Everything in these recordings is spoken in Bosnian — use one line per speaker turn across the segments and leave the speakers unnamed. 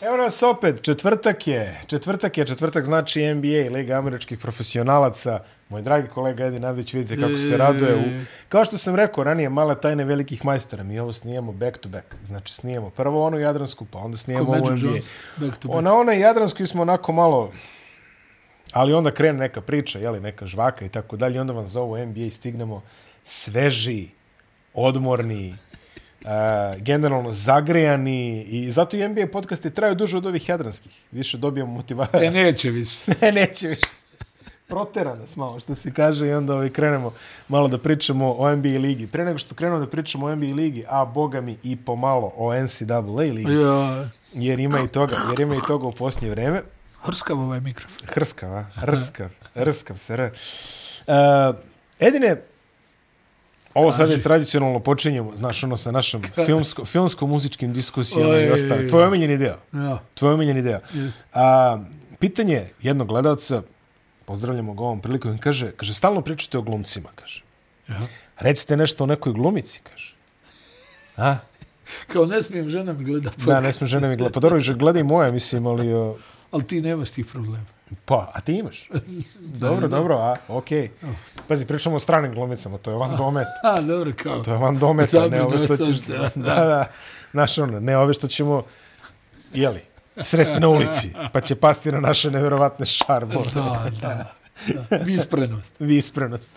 danas opet, četvrtak je, četvrtak je, četvrtak znači NBA, Liga američkih profesionalaca. Moj dragi kolega Edin Avdić, vidite kako se raduje. U, kao što sam rekao ranije, mala tajna velikih majstora. Mi ovo snijemo back to back. Znači snijemo prvo onu Jadransku, pa onda snijemo
Ko
ovu
Magic
NBA.
Johnson, back to back.
Na onoj Jadranskoj smo onako malo Ali onda krene neka priča, jeli, neka žvaka i tako dalje. i Onda vam za ovo NBA i stignemo sveži, odmorni, uh, generalno zagrejani i zato i NBA podcasti traju duže od ovih jadranskih. Više dobijemo motivara.
E, neće više.
ne, neće više. Protera nas malo, što se kaže, i onda ovaj, krenemo malo da pričamo o NBA ligi. Pre nego što krenemo da pričamo o NBA ligi, a boga mi i pomalo o NCAA ligi,
Ja,
jer ima i toga, jer ima i toga u posljednje vreme.
hrskav ovaj mikrofon.
Hrskav, a? Rskav. Rskav se, r. Uh, Edine, ovo sad je tradicionalno počinjemo, znaš, ono sa našom filmsko, filmsko-muzičkim diskusijama i
Oj.
ostalo. Tvoj omiljeni deo.
Ja,
Tvoj omiljeni deo.
jeste.
A, pitanje jednog gledalca, pozdravljamo ga ovom prilikom, kaže, kaže, stalno pričate o glumcima, kaže.
Ja.
Recite nešto o nekoj glumici, kaže. A?
Kao ne smijem žena mi gleda podcast.
Da, ne smo žene mi gleda. Pa dobro, gleda i moja, mislim, ali... o,
Ali ti nemaš tih problema.
Pa, a ti imaš? dobro, dobro, a, okej. Pazi, pričamo o stranim glumicama, to je van domet.
A, dobro, kao.
To je van dometa, ne
Zabrinuo
ove što
sam
ćeš...
se,
Da, da, znaš ono, ne ove što ćemo, jeli, sresti na ulici, pa će pasti na naše nevjerovatne šarmove,
Da, da. da. Visprenost.
visprenost,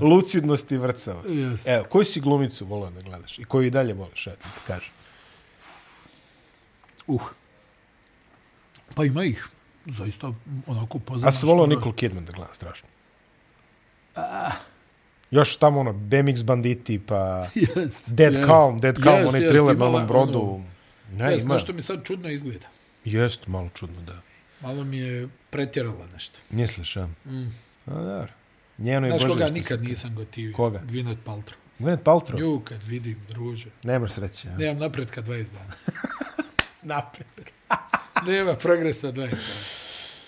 lucidnost i vrcavost.
Yes.
Evo, koju si glumicu volao da gledaš i koju i dalje voliš, evo ti ti kažem.
Uh. Pa ima ih. Zaista, onako poznaš.
A si volao
ono-
Nicole Kidman da gleda, strašno. Još tamo ono, BMX banditi, pa...
Jest,
Dead
jest.
Calm, Dead Calm,
Jest,
onaj
jest,
thriller na
imala
onom brodu.
ono-
ne,
Jest,
ima.
nešto mi sad čudno izgleda.
Jest, malo čudno, da.
Malo mi je pretjerala nešto.
Misliš, a? Mm. A, dobro. Njeno je
Znaš
Bože.
koga
što
nikad
se-
nisam gotivio?
Koga?
Gwyneth Paltrow.
Gwyneth Paltrow.
Nju kad vidim, druže.
Nemaš sreće, a?
Nemam napretka 20 dana.
Napred.
Nema progresa 20 dana.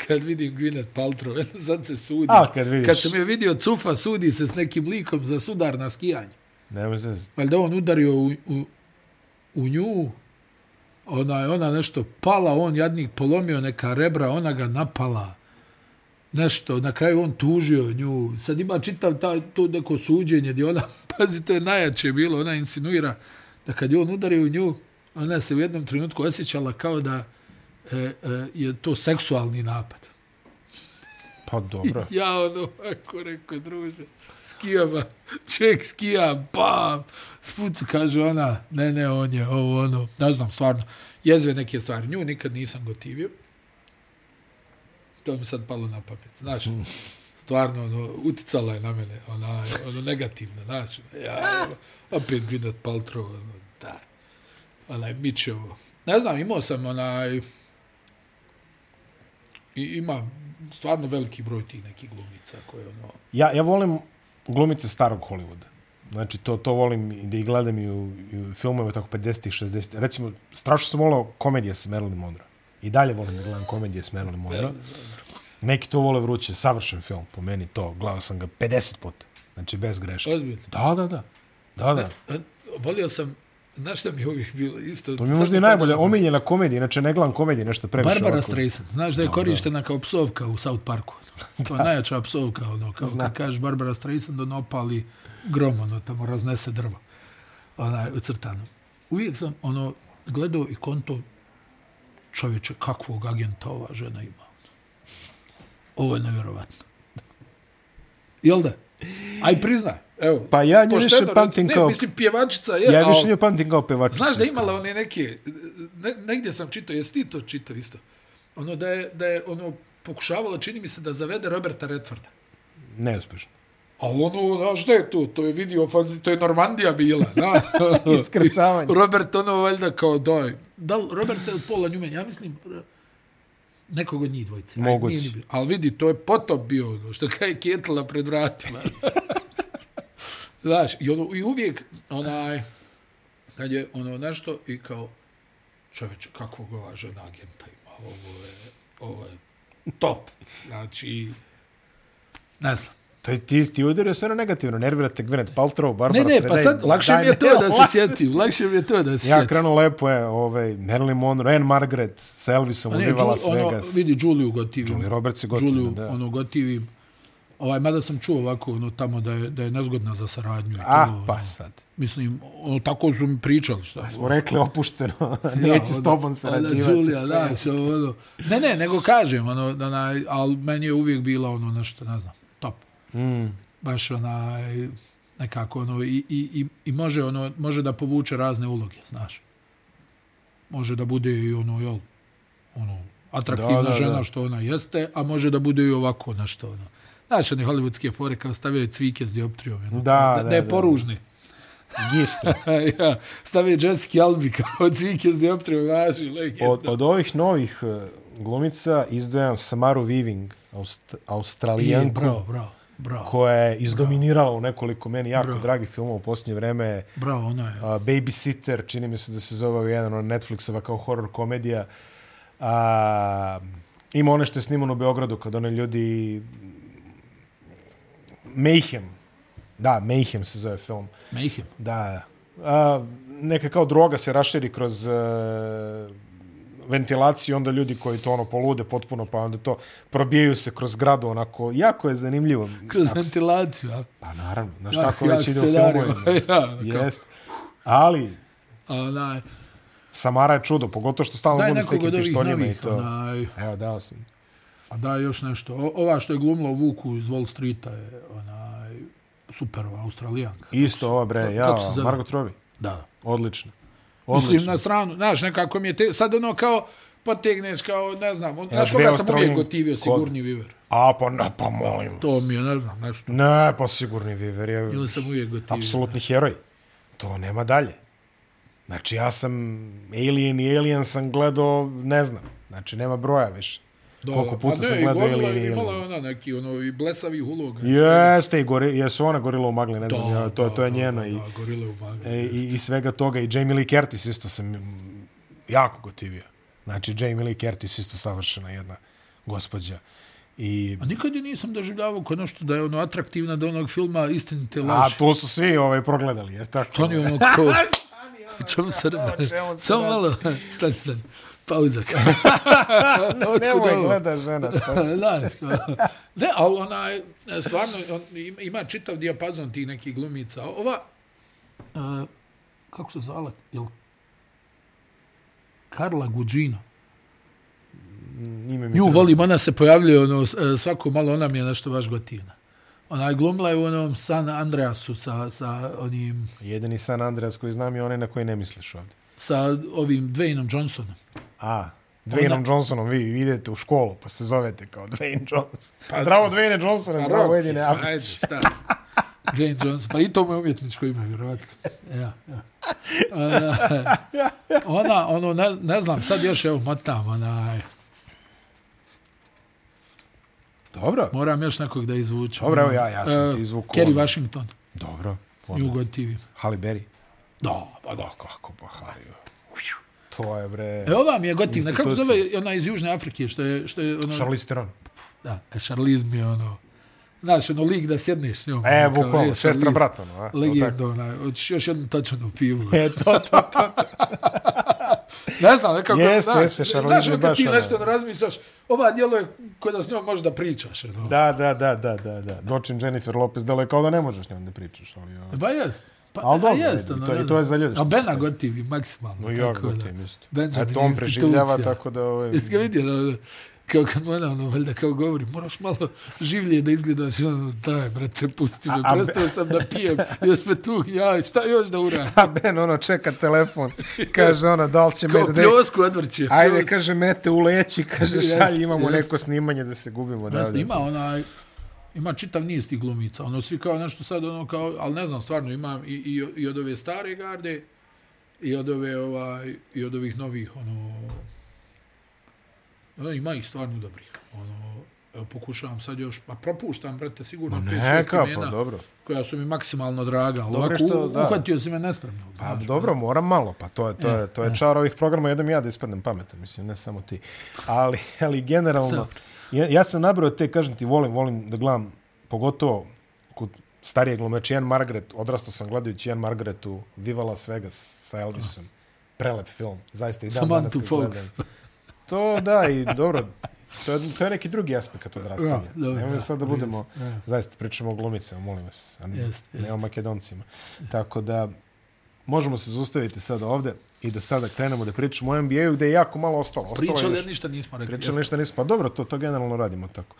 Kad vidim Gwyneth Paltrow, sad se sudi.
A, kad vidiš.
Kad sam je vidio Cufa, sudi se s nekim likom za sudar na skijanju.
Nemaš sreće.
Valjda on udario u, u, u nju, ona je ona nešto pala, on jadnik polomio neka rebra, ona ga napala. Nešto, na kraju on tužio nju. Sad ima čitav ta, to neko suđenje gdje ona, pazi, to je najjače bilo, ona insinuira da kad je on udario u nju, ona se u jednom trenutku osjećala kao da e, e, je to seksualni napad.
Pa dobro.
Ja ono ovako rekao, druže, skijama, čovjek skija, bam, spucu, kaže ona, ne, ne, on je, ovo, ono, ne znam, stvarno, jezve neke stvari, nju nikad nisam gotivio, to mi sad palo na pamet, znaš, stvarno, ono, uticala je na mene, ona, ono, negativno, znaš, ja, ono, opet Gwyneth Paltrow, ono, da, onaj, Mičevo, ne znam, imao sam onaj, I, ima stvarno veliki broj tih nekih glumica koje ono...
Ja, ja volim glumice starog Hollywooda. Znači, to, to volim i da ih gledam i u, i u filmove tako 50-ih, 60-ih. Recimo, strašno sam volao komedije sa Marilyn Monroe. I dalje volim da gledam komedije s Marilyn Monroe. Neki to vole vruće, savršen film, po meni to. Gledao sam ga 50 puta. Znači, bez greške.
Ozbiljno.
Da, da, da. Da, da.
E, Volio sam, znaš šta mi je uvijek bilo isto...
To mi je možda i najbolja omiljena komedija, inače ne gledam komedije, nešto previše.
Barbara
ovako.
Streisand, znaš da je korištena kao psovka u South Parku. To je najjača psovka, ono, kao kad kažeš Barbara Streisand, ono opali grom, ono, tamo raznese drvo. Onaj, u crtanu. Uvijek sam, ono, gledao i konto čovječe kakvog agenta ova žena ima. Ovo je nevjerovatno. Jel da? Aj priznaj. Evo,
Pa ja nju
pošteno
više pamtim
reci.
kao-
Ne, mislim, pjevačica je,
Ja
ali-
više nju pamtim kao pevačicu.
Znaš da je
iskreno.
imala one neke, ne, negdje sam čitao, jesi ti to čitao isto? Ono da je, da je ono pokušavala, čini mi se, da zavede Roberta Redforda.
Neuspešno.
Ali ono, znaš da je to, to je vidio, fanzi, to je Normandija bila, da.
Iskrcavanje.
Robert ono valjda kao doj. Da li Robert ili Paula Newman, ja mislim, r- nekog od njih dvojice. Ajde,
Moguće.
nije ni bilo. Ali vidi, to je potop bio, ono, što kaj je ketila pred vratima. Znaš, i, ono, i uvijek, onaj, kad je ono nešto i kao, čoveče, kakvog ova žena agenta ima, ovo je, ovo je top. Znači, ne znam,
Taj, ti, ti udario sve na negativno, nervirate Gwyneth Paltrow, Barbara
Ne, ne, pa
Streisand,
sad, lakše
daj,
mi je
ne,
to da se
lakše.
sjetim. Lakše mi je to da se
Ja
sjetim.
krenuo lepo je, ovaj, Marilyn Monroe, Anne Margaret sa Elvisom,
A ne,
udivala
Ju-
Las
ono,
Vegas.
Vidi, Juliju gotivim.
Julie Roberts je gotivna,
Juliju,
da.
ono, gotivim. Ovaj, mada sam čuo ovako, ono, tamo da je, da je nezgodna za saradnju. i
A,
to, ono,
pa sad.
Mislim, ono, tako su mi pričali, šta.
Smo rekli opušteno, neće
ono,
s tobom sarađivati.
Ona Julija,
sve.
da, što, ono. Ne, ne, nego kažem, ono, da na, ali meni je uvijek bila ono nešto, ne znam, top.
Mm.
Baš onaj, nekako ono, i, i, i, i može, ono, može da povuče razne uloge, znaš. Može da bude i ono, jel, ono, atraktivna
Da, da,
žena
da.
što ona jeste, a može da bude i ovako nešto, ono. Znaš, one hollywoodske fore kao stavio je cvike s dioptrijom, ono,
Da,
da, da,
da,
je
da.
poružni.
Isto.
Pa ja, stavio je Jessica Albi kao cvike s dioptrijom, znaš, i legenda.
Od, od ovih novih eh, glumica izdvajam Samaru Weaving, Aust
Je,
Australijanku,
bravo, bravo, bravo.
koja je izdominirala u nekoliko meni jako
Bravo.
dragih filmova u posljednje vreme.
Bravo, ono je.
Uh, Babysitter, čini mi se da se zove ovaj jedan od Netflixova kao horror komedija. A, ima one što je snimano u Beogradu kad one ljudi... Mayhem. Da, Mayhem se zove film.
Mayhem.
Da. A, neka kao droga se raširi kroz e, ventilaciju, onda ljudi koji to ono polude potpuno, pa onda to probijaju se kroz gradu, onako, jako je zanimljivo.
Kroz
Ako se-
ventilaciju, a?
Pa naravno, znaš
Ja,
kako
ja
već ide u
scenariju,
filmovima.
ja, kao-
Jest. Ali,
Onaj,
Samara je čudo, pogotovo što stalno
daj
glumi s
nekog
nekim
od ovih
pištoljima i
novih, ono.
to.
onaj,
Evo, dao sam.
a daj još nešto. O, ova što je glumila u Vuku iz Wall Streeta je, onaj, superova, australijanka.
Isto ova bre, ja,
kako se zove?
Margot Robbie.
Da.
Odlično.
Mislim,
Odlično.
na stranu, znaš, nekako mi je te, sad ono kao, potegneš kao, ne znam, on, znaš
dve
koga sam
Australijan-
uvijek gotivio,
kod-
sigurni viver.
A, pa, na, pa molim vas.
To mi je, ne znam, nešto.
Ne, pa sigurni Viver je
Ili sam uvijek gotivio.
apsolutni heroj. To nema dalje. Znači, ja sam Alien i Alien sam gledao, ne znam. Znači, nema broja više.
Da,
Koliko
pa
puta
ne,
sam
i
gledao
gorila-
Alien i
Imala je
Alien.
ona neki, ono, i blesavih uloga. i svega.
Jeste, i gori, jesu ona gorila u magli, ne znam, ja, to, to je njeno.
Da,
i,
da, gorile u magli.
e, i, i svega toga. I Jamie Lee Curtis isto sam mm, jako gotivio. Znači, Jamie Lee Curtis isto savršena jedna gospođa. I,
A nikad je nisam doživljavao kao nešto da je ono atraktivna do onog filma Istinite
a
laži.
to su svi ovaj, progledali, jer tako?
To ni ono kao...
Stani, ono,
O čemu se
o čemu
radi?
se
Samo
radi?
malo. Stani, stani. Pauza. Otkud
Nemoj
ovo?
gleda žena, šta
Pa, Znaš, kao- ne, ali ona je, stvarno, on, ima- ima čitav dijapazon tih nekih glumica. Ova, e, kako se zvala, jel? Karla Gugino.
Ime mi
Nju
treba.
volim, ona se pojavljuje ono, s- e, svako malo, ona mi je nešto baš gotivna. Ona je glumila je u onom San Andreasu sa, sa onim,
Jedini San Andreas koji znam je onaj na koji ne misliš ovdje.
sa ovim Dwayneom Johnsonom.
A, Dwayneom
Ona-
Johnsonom vi idete u školu pa se zovete kao Dwayne Johnson. Pa, zdravo Dwayne Johnson, zdravo jedine
Ajde, šta? Dwayne Johnson, pa i to mu je umjetničko ime, vjerovatno. Ja, ja. Ona, ona, ono, ne, ne znam, sad još evo motam, ona,
Dobro,
moram još nekog da izvučem.
Dobro, evo ja- ja sam
E,
ti izvukao
Kerry
ono.
Washington,
dobro. Ono,
nju gotivim.
Halle Berry.
Da, pa da.
Da, kako pa Halle. To je bre...
E, ova mi je gotivna. Kako
Institucija.
zove ona iz Južne Afrike, što je, što je ono...
Charlize Theron.
Da, e, Charlize mi je ono... Znaš, ono lik da sjedneš s njom.
E,
ono, kao,
bukvalno,
Charlize,
sestra brat, ono, a?
Legenda, ona, hoćeš još jednu tačanu pivu.
E, to, to, to.
Ne znam, nekako,
Jeste,
znaš,
jeste, Charlize
znaš,
je
kad
baš
ti
ona.
nešto ono razmišljaš, ova djelo je koje da s njom možeš da pričaš. Ono. Da.
Da, da, da, da, da, da. Dočin Jennifer Lopez, delo je kao da ne možeš njom da pričaš, ali... ovo-
Ba jest. Pa,
Al
a
dobro,
jest,
i
ono,
to-
ne
i to je za
znam.
ljude što
A
se
Bena gotivi maksimalno. ono.
No, ja gotivim isto.
Benjamin
Eto, on preživljava
institucija.
tako da... ovaj, Ovo,
Jesi ga vidio, da, da, kao kad mu ona, ono, valjda, kao govori, moraš malo življe da izgledaš, i ono, daj, brate, pusti me,
A- a-
prestao sam da pijem, još me tu, ja, šta još da uradim?
A Ben ono čeka telefon, kaže ona da li će
Kao
mete, da
pljosku odvrće.
ajde
pljosku.
kaže mete uleći, kaže
Jeste,
šalj imamo
jeste.
neko snimanje da se gubimo. Da,
Jeste,
da.
ima onaj, ima čitav niz tih glumica. Ono, svi kao nešto sad, ono kao, ali ne znam, stvarno imam i, i, i od ove stare garde, i od ove, ovaj, i od ovih novih, ono, ono ima ih stvarno dobrih. Ono, evo, pokušavam sad još, pa propuštam, brate, sigurno 5-6
Neka, pa
imena
dobro.
koja su mi maksimalno draga, ali
Dobro je
ovako,
što,
što,
da.
uhvatio si me nespremno. znači.
Pa dobro,
ono.
moram malo, pa to je, to je, to je čar ovih programa, jednom ja da ispadnem pametan, mislim, ne samo ti. Ali, ali generalno, ja, ja sam nabrao te, kažem ti, volim, volim da gledam, pogotovo kod starijeg glumera, Ian Margaret, odrastao sam gledajući Ian Margaret u Viva Las Vegas sa Elvisom. Prelep film, zaista i dan
Samantha
danas kad gledam.
Fox.
To da, i dobro, to je, to je neki drugi aspekt odrastanja.
Da, dobro,
Nemojmo
da,
sad da
jest,
budemo,
da.
zaista pričamo o glumicama, molim vas, a ne,
Jest,
ne o
jest.
makedoncima. Tako da, možemo se zaustaviti sada ovde i da sada krenemo da pričamo o NBA-u gde je jako malo ostalo. Ostalo je
Pričali,
još-
jer ništa nismo rekli.
Pričali
jeste.
ništa nismo. Pa dobro, to, to generalno radimo tako.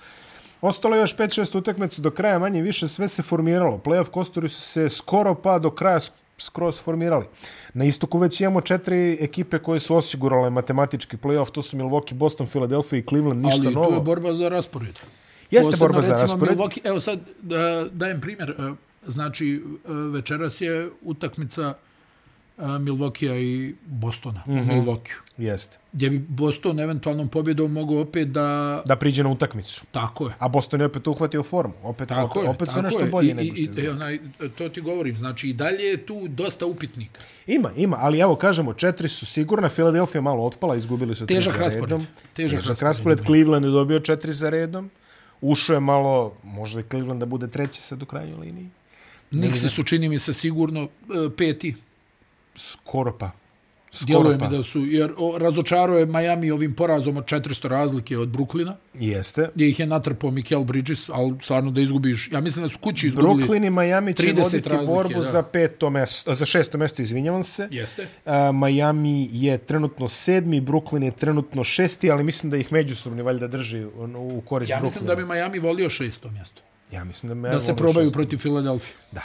Ostalo je još 5-6 utakmica do kraja, manje više sve se formiralo. Playoff kosturi su se skoro pa do kraja sk- skroz formirali. Na istoku već imamo četiri ekipe koje su osigurale matematički playoff, to su Milwaukee, Boston, Philadelphia i Cleveland, ništa
Ali tu je
novo.
borba za raspored.
Jeste
Posebno,
borba za
recimo,
raspored.
Milwaukee, evo sad da, dajem primjer. e, Znači, e, večeras je utakmica e, Milwaukeea i Bostona mm -hmm. u
Mhm.
Milwaukee.
Jeste.
Gdje bi Boston eventualnom pobjedom mogao opet da...
Da priđe na utakmicu.
Tako je.
A Boston je opet uhvatio formu. Opet,
Tako
opet,
je,
opet
tako
su nešto
je.
bolje
I,
nego što
i,
je
i,
znao.
onaj, to ti govorim, znači i dalje je tu dosta upitnika.
Ima, ima, ali evo kažemo, četiri su sigurna, Filadelfija je malo otpala, izgubili su tri
Težak
za
raspored.
redom.
Težak
Težak
raspored,
raspored,
da.
Cleveland je dobio četiri za redom, ušao je malo, možda i Cleveland da bude treći sad u krajnjoj liniji,
Nixi su, čini mi se, sigurno e, peti.
skoro pa. Skoro
Djeluje
pa.
mi da su, jer o, razočarao je Miami ovim porazom od 400 razlike od Brooklyna,
Jeste.
gdje ih je natrpao Mikel Bridges, ali stvarno da izgubiš, ja mislim da su kući izgubili.
Brooklyn i Miami će
30
voditi
razlike,
borbu
da.
za peto mesto, za šesto mesto, izvinjavam se.
Jeste.
A, Miami je trenutno sedmi, Brooklyn je trenutno šesti, ali mislim da ih međusobni valjda drži ono, u korist
Ja
Brooklyna.
mislim da bi Miami volio šesto mjesto.
ja mislim da, me-
Da se
ono
probaju
šesto.
protiv Filadelfije.
Da.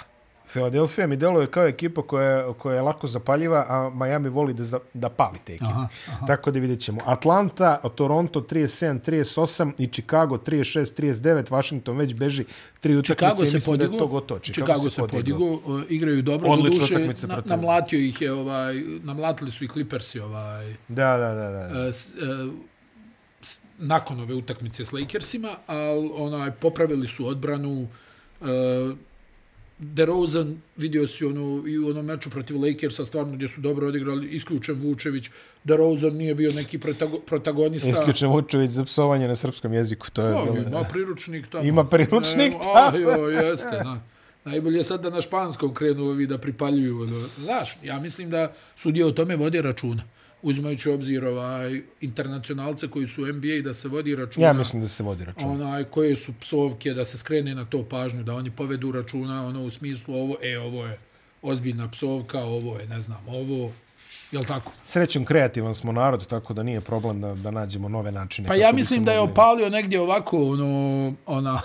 Filadelfija mi deluje kao ekipa koja, koja je lako zapaljiva, a Miami voli da, za, da pali te ekipe.
Aha,
Tako da vidjet ćemo. Atlanta, Toronto 37-38 i Chicago 36-39. Washington već beži tri utakmice
Chicago
i
se
mislim da je to
podigao.
gotovo. Chicago,
Chicago se podigao, e, igraju dobro.
Odlična
Odlična
utakmica
duše, na,
protiv-
namlatio ih je, ovaj, namlatili su i Clippersi ovaj,
Da, da, da. da.
e, s- e, s- nakon ove utakmice s Lakersima, ali onaj, popravili su odbranu. E, DeRozan, vidio si ono, i u onom meču protiv Lakersa, stvarno gdje su dobro odigrali, isključen Vučević. DeRozan nije bio neki protago, protagonista.
Isključen Vučević za psovanje na srpskom jeziku. To je
Pa,
bilo,
ima priručnik tamo.
Ima priručnik
Evo,
tamo.
A, jo, jeste, na. Najbolje je sad da na španskom krenu ovi da pripaljuju. Ono. Znaš, ja mislim da sudije o tome vode računa. Uzimajući u obzir ovaj, internacionalce koji su u NBA da Ono- se vodi računa.
Ja mislim da se vodi račun.
Onaj, koje su psovke, da se skrene na to pažnju, da oni povedu računa ono, u smislu ovo, e, ovo je ozbiljna psovka, ovo je, ne znam, ovo, jel tako?
Srećom kreativan smo narod, tako da nije problem da, da nađemo nove načine.
Pa
kako
ja
bi
mislim
se
da je
mogli-
opalio negdje ovako, ono, ona,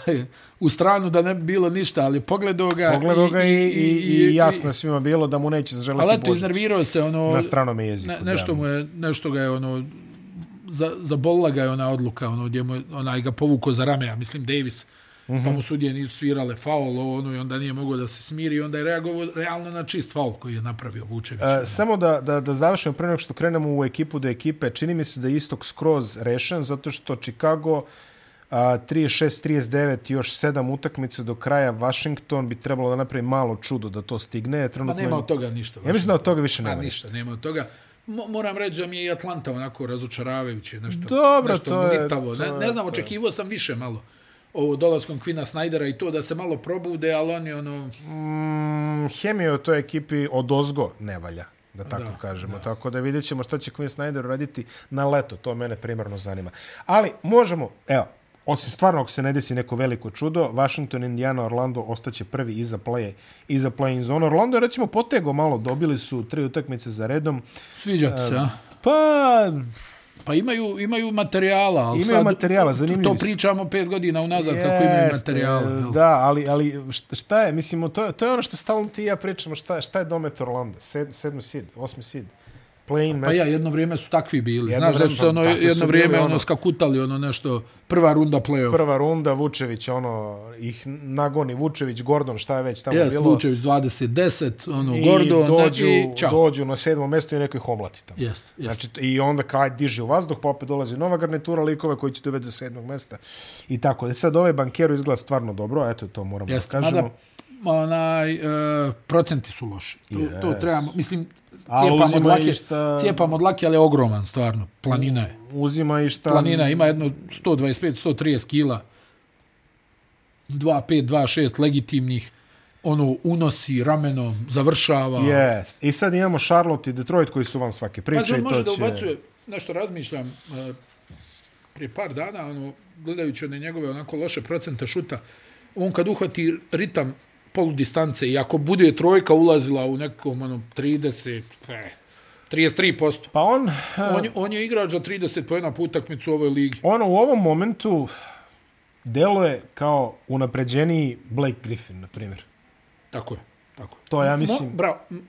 u stranu da ne bi bilo ništa, ali pogledao ga...
Pogledao ga i, i, i, i jasno je svima bilo da mu neće zaželiti
Ali eto,
Božić.
iznervirao se, ono...
Na stranome jeziku.
Ne, nešto
da.
mu je, nešto ga je, ono, za, zabolila ga je ona odluka, ono, gdje mu je, onaj ga povukao za rame, ja mislim, Davis. Mm
Mhm.
-hmm. Pa mu sudije nisu svirale faul, ovo, ono, i onda nije mogao da se smiri, i onda je reagovao realno na čist faul koji je napravio Vučević. Pa
E, samo da, da, da završimo pre nego što krenemo u ekipu do ekipe, čini mi se da je istok skroz rešen, zato što Chicago a, 36-39, još 7 utakmice do kraja, Washington bi trebalo da napravi malo čudo da to stigne.
Pa
Trenutno
nema
je-
od toga ništa.
Ja mislim da od toga više
Pa
nema. ništa.
ništa, nema od toga. Mo- Moram reći da mi je i Atlanta onako razočaravajuće, nešto,
Dobro,
nešto
to je-
mlitavo.
to
Ne,
je-
ne znam, očekivao sam više malo ovo dolaskom Kvina Snydera i to da se malo probude, ali on je ono...
Mm, Hemija u toj ekipi od ozgo ne valja da tako da,
Da,
kažemo. Da. Tako da vidjet ćemo što će Quinn Snyder uraditi na leto. To mene primarno zanima. Ali možemo, evo, osim stvarno ako se ne desi neko veliko čudo, Washington, Indiana, Orlando ostaće prvi iza play, iza play-in zone. Orlando je recimo potego malo, dobili su tri utakmice za redom.
Sviđa ti se, a?
Pa,
Pa imaju, imaju materijala. Ali
Imaju
sad,
materijala,
to-
zanimljivi
To
su.
pričamo pet godina unazad kako imaju
jeste,
materijala. jel?
Da, ali, ali šta- šta je, mislim, to, to je ono što stalno ti i ja pričamo, šta, je- šta je domet Orlanda? Sed, sedmi sid, osmi sid. Play-in
Pa
mesto.
ja, jedno vrijeme su takvi bili.
Jedno
Znaš da
vrijeme,
su se ono,
tako su
jedno
bili,
vrijeme ono,
ono.
skakutali, ono nešto, prva runda play-off.
prva runda, Vučević, ono, ih nagoni, Vučević, Gordon, šta je već tamo
Jes,
bilo.
Vučević 20-10, ono,
I
Gordon,
dođu,
i čao.
dođu na sedmo mesto i nekoj homlati tamo.
Jeste, jeste.
Znači, I onda kaj diže u vazduh, pa opet dolazi nova garnitura likova koji će dovede do sedmog mesta. I tako. E sad ovaj bankeru izgleda stvarno dobro, eto to moramo
Jeste,
da kažemo.
mada onaj, e, procenti su loši. To, yes. to
Yes.
trebamo, mislim,
Ali
cijepam od,
uzima i
lake,
šta-
cijepam od lake, ali je ogroman, stvarno. Planina je.
Uzima i šta...
Planina ima jedno 125-130 kila. 2, 5, 2, 6 legitimnih, ono, unosi ramenom, završava.
Jest. I sad imamo Charlotte i Detroit koji su van svake priče.
Pazi, on
i to
Pa može da
će-
ubacuje, nešto razmišljam, e, prije par dana, ono, gledajući one njegove onako loše procente šuta, on kad uhvati ritam polu distance i ako bude trojka ulazila u nekom ono 30, e, 33%,
Pa on,
on, je- on je igrač za 30 pojena po utakmicu u ovoj ligi.
ono u ovom momentu deluje kao unapređeniji Blake Griffin, na primjer.
Tako je, tako je.
To ja mislim...
Mo, bravo, m-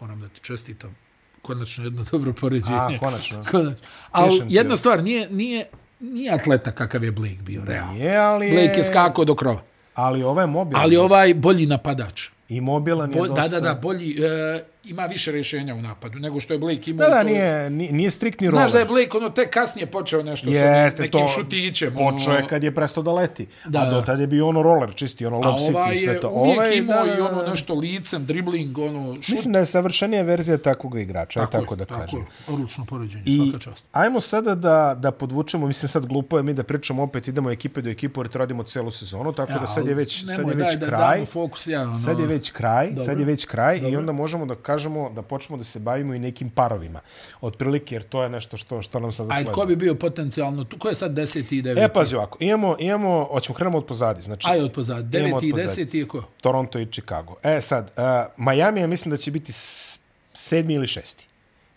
moram da ti čestitam. Konačno jedno dobro poređenje.
A, konačno.
konačno. Ali
Pišem ti
jedna
ovo.
stvar, nije, nije, nije atleta kakav je Blake bio, realno.
Je, ali je...
Blake je skakao do krova.
Ali ovaj je mobilan.
Ali ovaj bolji napadač.
I mobilan je
Bo,
dosta.
da, da, da, bolji, e, ima više rješenja u napadu nego što je Blake imao.
Da,
u
da,
toj-
nije, nije, nije striktni roller.
Znaš da je Blake ono tek kasnije počeo nešto sa
Jeste,
nekim
to
šutićem.
Počeo je
ono,
kad je prestao da leti. Da,
Da,
a do
da.
tad je bio ono roller, čisti ono
A
lob city
ovaj
i sve
je
to.
uvijek
Ovaj,
imao
da, da,
i ono
da.
nešto licem, dribling, ono šut.
Mislim da je savršenija verzija takvog igrača, tako, tako da kažem.
Tako, odlučno poređenje, I...
I
svaka čast.
ajmo sada da, da podvučemo, mislim sad glupo je mi da pričamo opet, idemo ekipe do ekipe jer to radimo celu sezonu, tako da sad je već, sad je već
daj, Da,
kraj.
damo fokus, ja, ono,
Sad je već kraj, Dobro. sad je već kraj Dobro. i
Dobro.
onda možemo da kažemo da počnemo da se bavimo i nekim parovima. Otprilike jer to je nešto što što nam sad
Aj,
sledi.
ko bi bio potencijalno tu? Ko je sad 10. i 9?
E pazi ovako, imamo imamo hoćemo krenemo od pozadi, znači
Aj, od pozad.
Idemo
9. i
otpozad.
10. je ko?
Toronto i Chicago. E sad uh, Miami ja mislim da će biti s- sedmi ili šesti.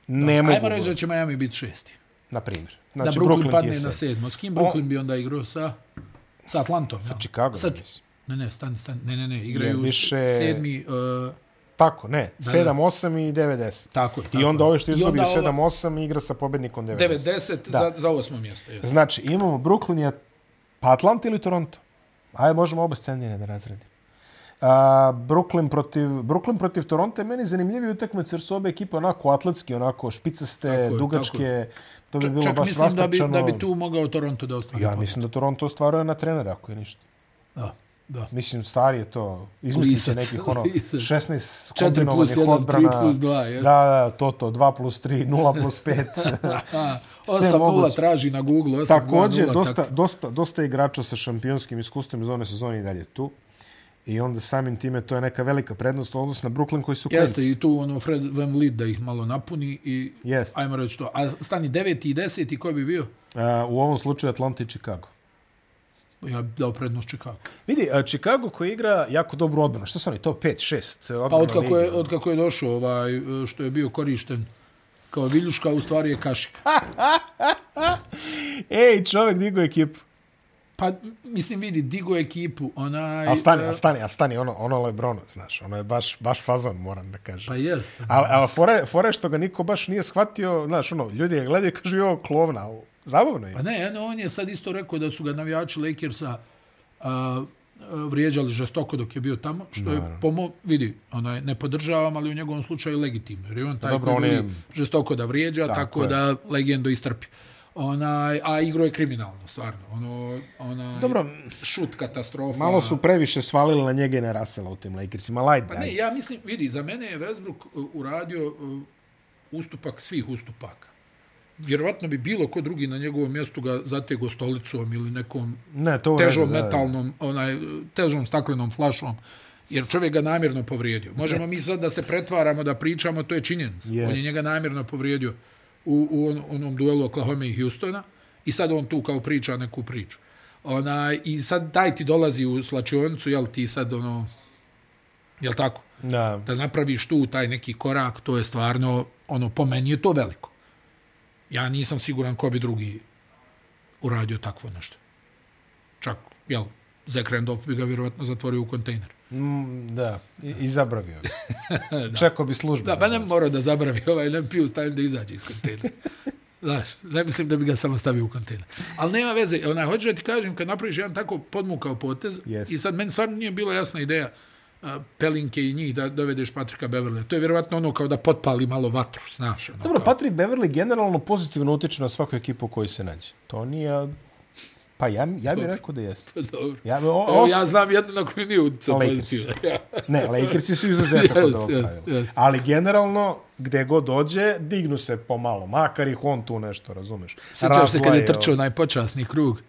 Ne mogu.
Ajmo reći da će Miami biti šesti.
Na primjer.
Da
Znači,
Brooklyn,
ti je
padne na
sedmi.
sedmo. S kim Brooklyn bi onda igrao? Sa, sa Atlantom. Sa
Chicago,
Sa,
ja mislim.
ne, ne, stani, stani. Ne, ne, ne. Igraju
više-
više... sedmi... Uh,
Tako, ne. 7, 8 i 90.
Tako je,
I
tako
onda
je.
ovaj što
I
izgubi u
onda ova-
7, 8 igra sa pobednikom 90.
90 za, za osmo mjesto. Jes.
Znači, imamo Brooklyn, je- pa Atlant ili Toronto? Ajde, možemo oba scenarije da razredimo. A, Brooklyn, protiv, Brooklyn protiv Toronto je meni zanimljiviji utakmac jer su obe ekipe onako atletski, onako špicaste,
Tako je, tako
dugačke. To bi bilo
Čak
baš
mislim da bi,
rastrčano.
da bi tu mogao Toronto da ostvari.
Ja
pobjedu.
mislim da Toronto ostvaruje na trenera, ako je ništa.
Da, da.
Mislim, stari je to. Izmislite
Lisac.
nekih ono
Lisac.
16
Četiri plus
kombinovanih
jedan, tri
odbrana.
plus dva, jeste.
Da, da, to to. 2 plus 3, 0 plus 5.
A,
Sve
8-0
moguće.
traži na Google. 8
Takođe,
2-0,
dosta,
tako.
dosta, dosta igrača sa šampionskim iskustvom iz one sezone i dalje tu. I onda samim time to je neka velika prednost u odnosu na Brooklyn koji su
Jeste,
klinci.
i tu ono Fred Van Lid da ih malo napuni i
Jeste.
ajmo reći to. A stani 9. i 10. ko bi bio?
A, u ovom slučaju Atlanta i Chicago.
Ja bi dao prednost Chicago.
Vidi, a, Chicago koji igra jako dobru odbranu. Šta su oni? Top 5, 6?
Pa otkako je, otkako je došao ovaj, što je bio korišten kao viljuška, u stvari je kašika.
Ej, čovjek digao ekipu.
Pa, mislim, vidi, digo ekipu, onaj...
A stani, a
e,
stani, a stani, ono, ono Lebrono, znaš, ono je baš, baš fazon, moram da kažem.
Pa jest.
Ali al, fore, fore što ga niko baš nije shvatio, znaš, ono, ljudi je gledaju i kažu, jo, klovna, ali zabavno je.
Pa ne, eno, on je sad isto rekao da su ga navijači Lakersa a, a, vrijeđali žestoko dok je bio tamo, što je pomo, vidi, onaj, ne podržavam, ali u njegovom slučaju legitimno, jer je on
Pa
taj
Dobro,
koji
on je-
voli žestoko da vrijeđa, tako,
je.
da legendo istrpi. Onaj, a igro je kriminalno, stvarno. Ono, onaj,
Dobro.
šut katastrofa.
Malo su previše svalili na njega i na Rasela u tim Lakersima, laj daj.
Pa Ne, ja mislim, vidi, za mene je Westbrook uh, uradio uh, ustupak svih ustupaka. Vjerovatno bi bilo ko drugi na njegovom mjestu ga zatego stolicom ili nekom
ne, to u redu,
težom
da, da.
metalnom, onaj, težom staklenom flašom, jer čovjek ga namjerno povrijedio. Možemo mi sad da se pretvaramo, da pričamo, to je činjenica.
Jest.
Yes. On je njega namjerno povrijedio u, u on, onom duelu Oklahoma i Houstona i sad on tu kao priča neku priču. Ona, I sad taj ti dolazi u slačionicu, jel ti sad ono, jel tako?
Da.
Da napraviš tu taj neki korak, to je stvarno, ono, po meni je to veliko. Ja nisam siguran ko bi drugi uradio takvo nešto. Čak, jel, Zach Randolph bi ga vjerovatno zatvorio u kontejner.
Mm, da, i, i zabravio. da. Čekao bi službu.
Da, ba ne bi morao da zabravi ovaj, ne bi pio stavim da izađe iz kontejnera. Znaš, ne mislim da bi ga samo stavio u kontejner. Ali nema veze, onaj, hoću da ti kažem, kad napraviš jedan tako podmukao potez,
Jest.
i sad meni stvarno nije bila jasna ideja a, pelinke i njih da dovedeš Patrika Beverley. To je vjerovatno ono kao da potpali malo vatru, znaš. Ono,
Dobro,
kao,
Patrick Beverly generalno pozitivno utiče na svaku ekipu u kojoj se nađe. To nije... Pa ja, ja bih rekao da jeste.
dobro.
pa- Ja, bi- o,
Evo,
os-
ja znam jednu na koju nije utjecao
Lakers.
pozitivno. Ja.
Ne, Lakersi su izuzetak od
Jest,
ovog
jest,
pravila.
jest.
Ali generalno, gde god dođe, dignu se pomalo. Makar ih on tu nešto, razumeš.
Sjećaš se kad
Razlaje
je trčao onaj počasni krug,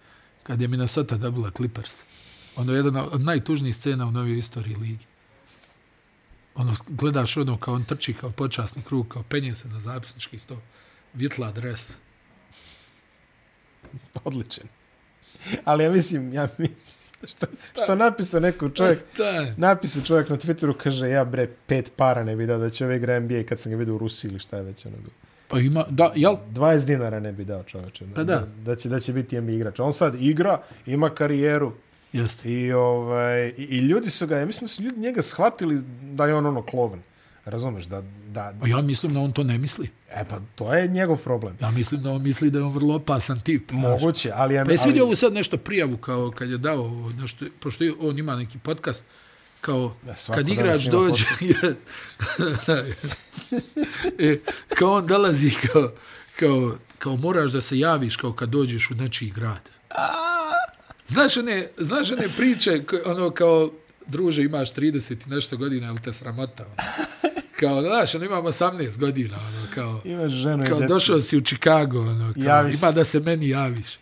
kad je Minnesota dobila Clippers. Ono je jedna od najtužnijih scena u novijoj istoriji ligi. Ono, gledaš ono kao on trči kao počasni krug, kao penje se na zapisnički sto, vitla dres.
Odličan. Ali ja mislim, ja mislim, što, što napisao neko čovjek,
Stan.
napisao čovjek na Twitteru, kaže, ja bre, pet para ne bi dao da će ovaj igra NBA kad sam ga vidio u Rusiji ili šta je već ono bilo.
Pa ima, da, jel?
20 dinara ne bi dao čoveče.
Pa da.
Da će, da će biti NBA igrač. On sad igra, ima karijeru
Jeste.
i, ovaj, i, i ljudi su ga, ja mislim da su ljudi njega shvatili da je on ono kloven. Razumeš, da, da,
A Ja mislim da on to ne misli.
e pa to je njegov problem.
Ja mislim da on misli da je on vrlo opasan tip. znaš.
Moguće, ali... Ja,
Pa jesi vidio
ali,
ovu sad nešto prijavu kao kad je dao ovo, nešto, pošto je- on ima neki podcast, kao
Da, svako
kad
danas
igrač
ima
dođe, e, kao on dolazi kao, kao, kao moraš da se javiš kao kad dođeš u nečiji grad. Znaš one, znaš one priče, koje, ono kao, druže imaš 30 i nešto godina, ili te sramota? Ono. Kao, znaš, ono imam 18 godina, ono kao,
Imaš ženu i
kao
decu.
došao si u Chicago, ono, kao,
Javi se.
ima da se meni javiš,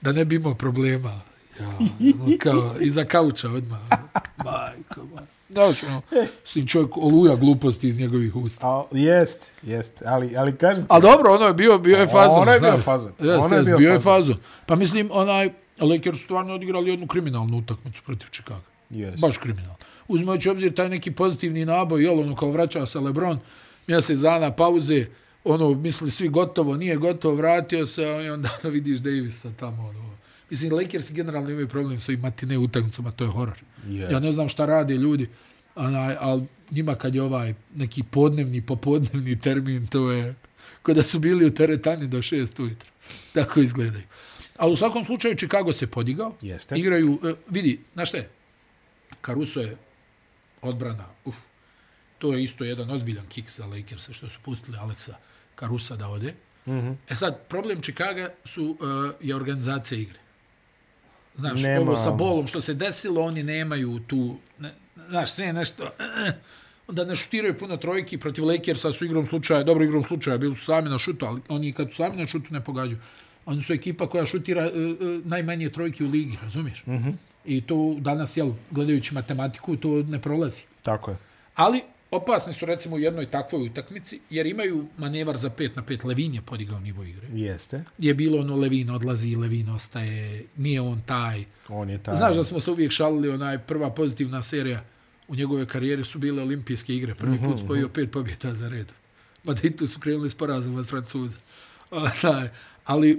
da ne bi imao problema. Ja, ono, kao, iza kauča odmah. ono. Majko, ma. Znaš, ono, mislim, čovjek oluja gluposti iz njegovih usta.
A, jest, jest, ali, ali kažem ti,
A dobro, ono je bio, bio je fazon.
Ono je bio
znaš.
fazon.
Jeste,
Ono je
jeste,
bio
bio je
fazon.
fazon. Pa mislim, onaj, Lakers su stvarno odigrali jednu kriminalnu utakmicu protiv Chicago.
Jest.
Baš kriminal. Uzmajući obzir taj neki pozitivni naboj, jel, ono, kao vraćao se Lebron, mjesec dana pauze, ono, misli svi gotovo, nije gotovo, vratio se, i onda ono, vidiš Davisa tamo, ono. Mislim, Lakers generalno imaju problem sa ovim matine utakmicama, to je horor.
Jest.
Ja ne znam šta rade ljudi, onaj, ali njima kad je ovaj neki podnevni, popodnevni termin, to je kod da su bili u teretani do šest ujutro. Tako izgledaju. Ali u svakom slučaju Chicago se podigao.
Jeste.
Igraju, e, vidi, znaš šta je? Caruso je odbrana. Uf. To je isto jedan ozbiljan kick za Lakers što su pustili Aleksa Carusa da ode. Mm
Mhm.
-hmm. E sad, problem Chicaga su, uh, je organizacija igre. Znaš,
Nema
ovo sa
ono.
bolom što se desilo, oni nemaju tu, ne, znaš, sve je nešto, e, onda ne šutiraju puno trojki protiv Lakersa su igrom slučaja, dobro igrom slučaja, bili su sami na šutu, ali oni kad su sami na šutu ne pogađaju. Oni su ekipa koja šutira uh, uh, najmanje trojki u ligi, razumiješ? Mm
Mhm.
-hmm. I to danas, jel, gledajući matematiku, to ne prolazi.
tako je.
Ali opasni su recimo u jednoj takvoj utakmici, jer imaju manevar za 5 na 5. Levin je podigao nivo igre.
Jeste,
Je bilo ono Levin odlazi, Levin ostaje, nije on taj.
on je taj.
Znaš da smo se uvijek šalili, onaj prva pozitivna serija u njegovoj karijeri su bile olimpijske igre. Prvi
Mhm,
put spojio pet pobjeda za red. Mada i tu su krenuli s porazom od Francuza. Onaj, ali e,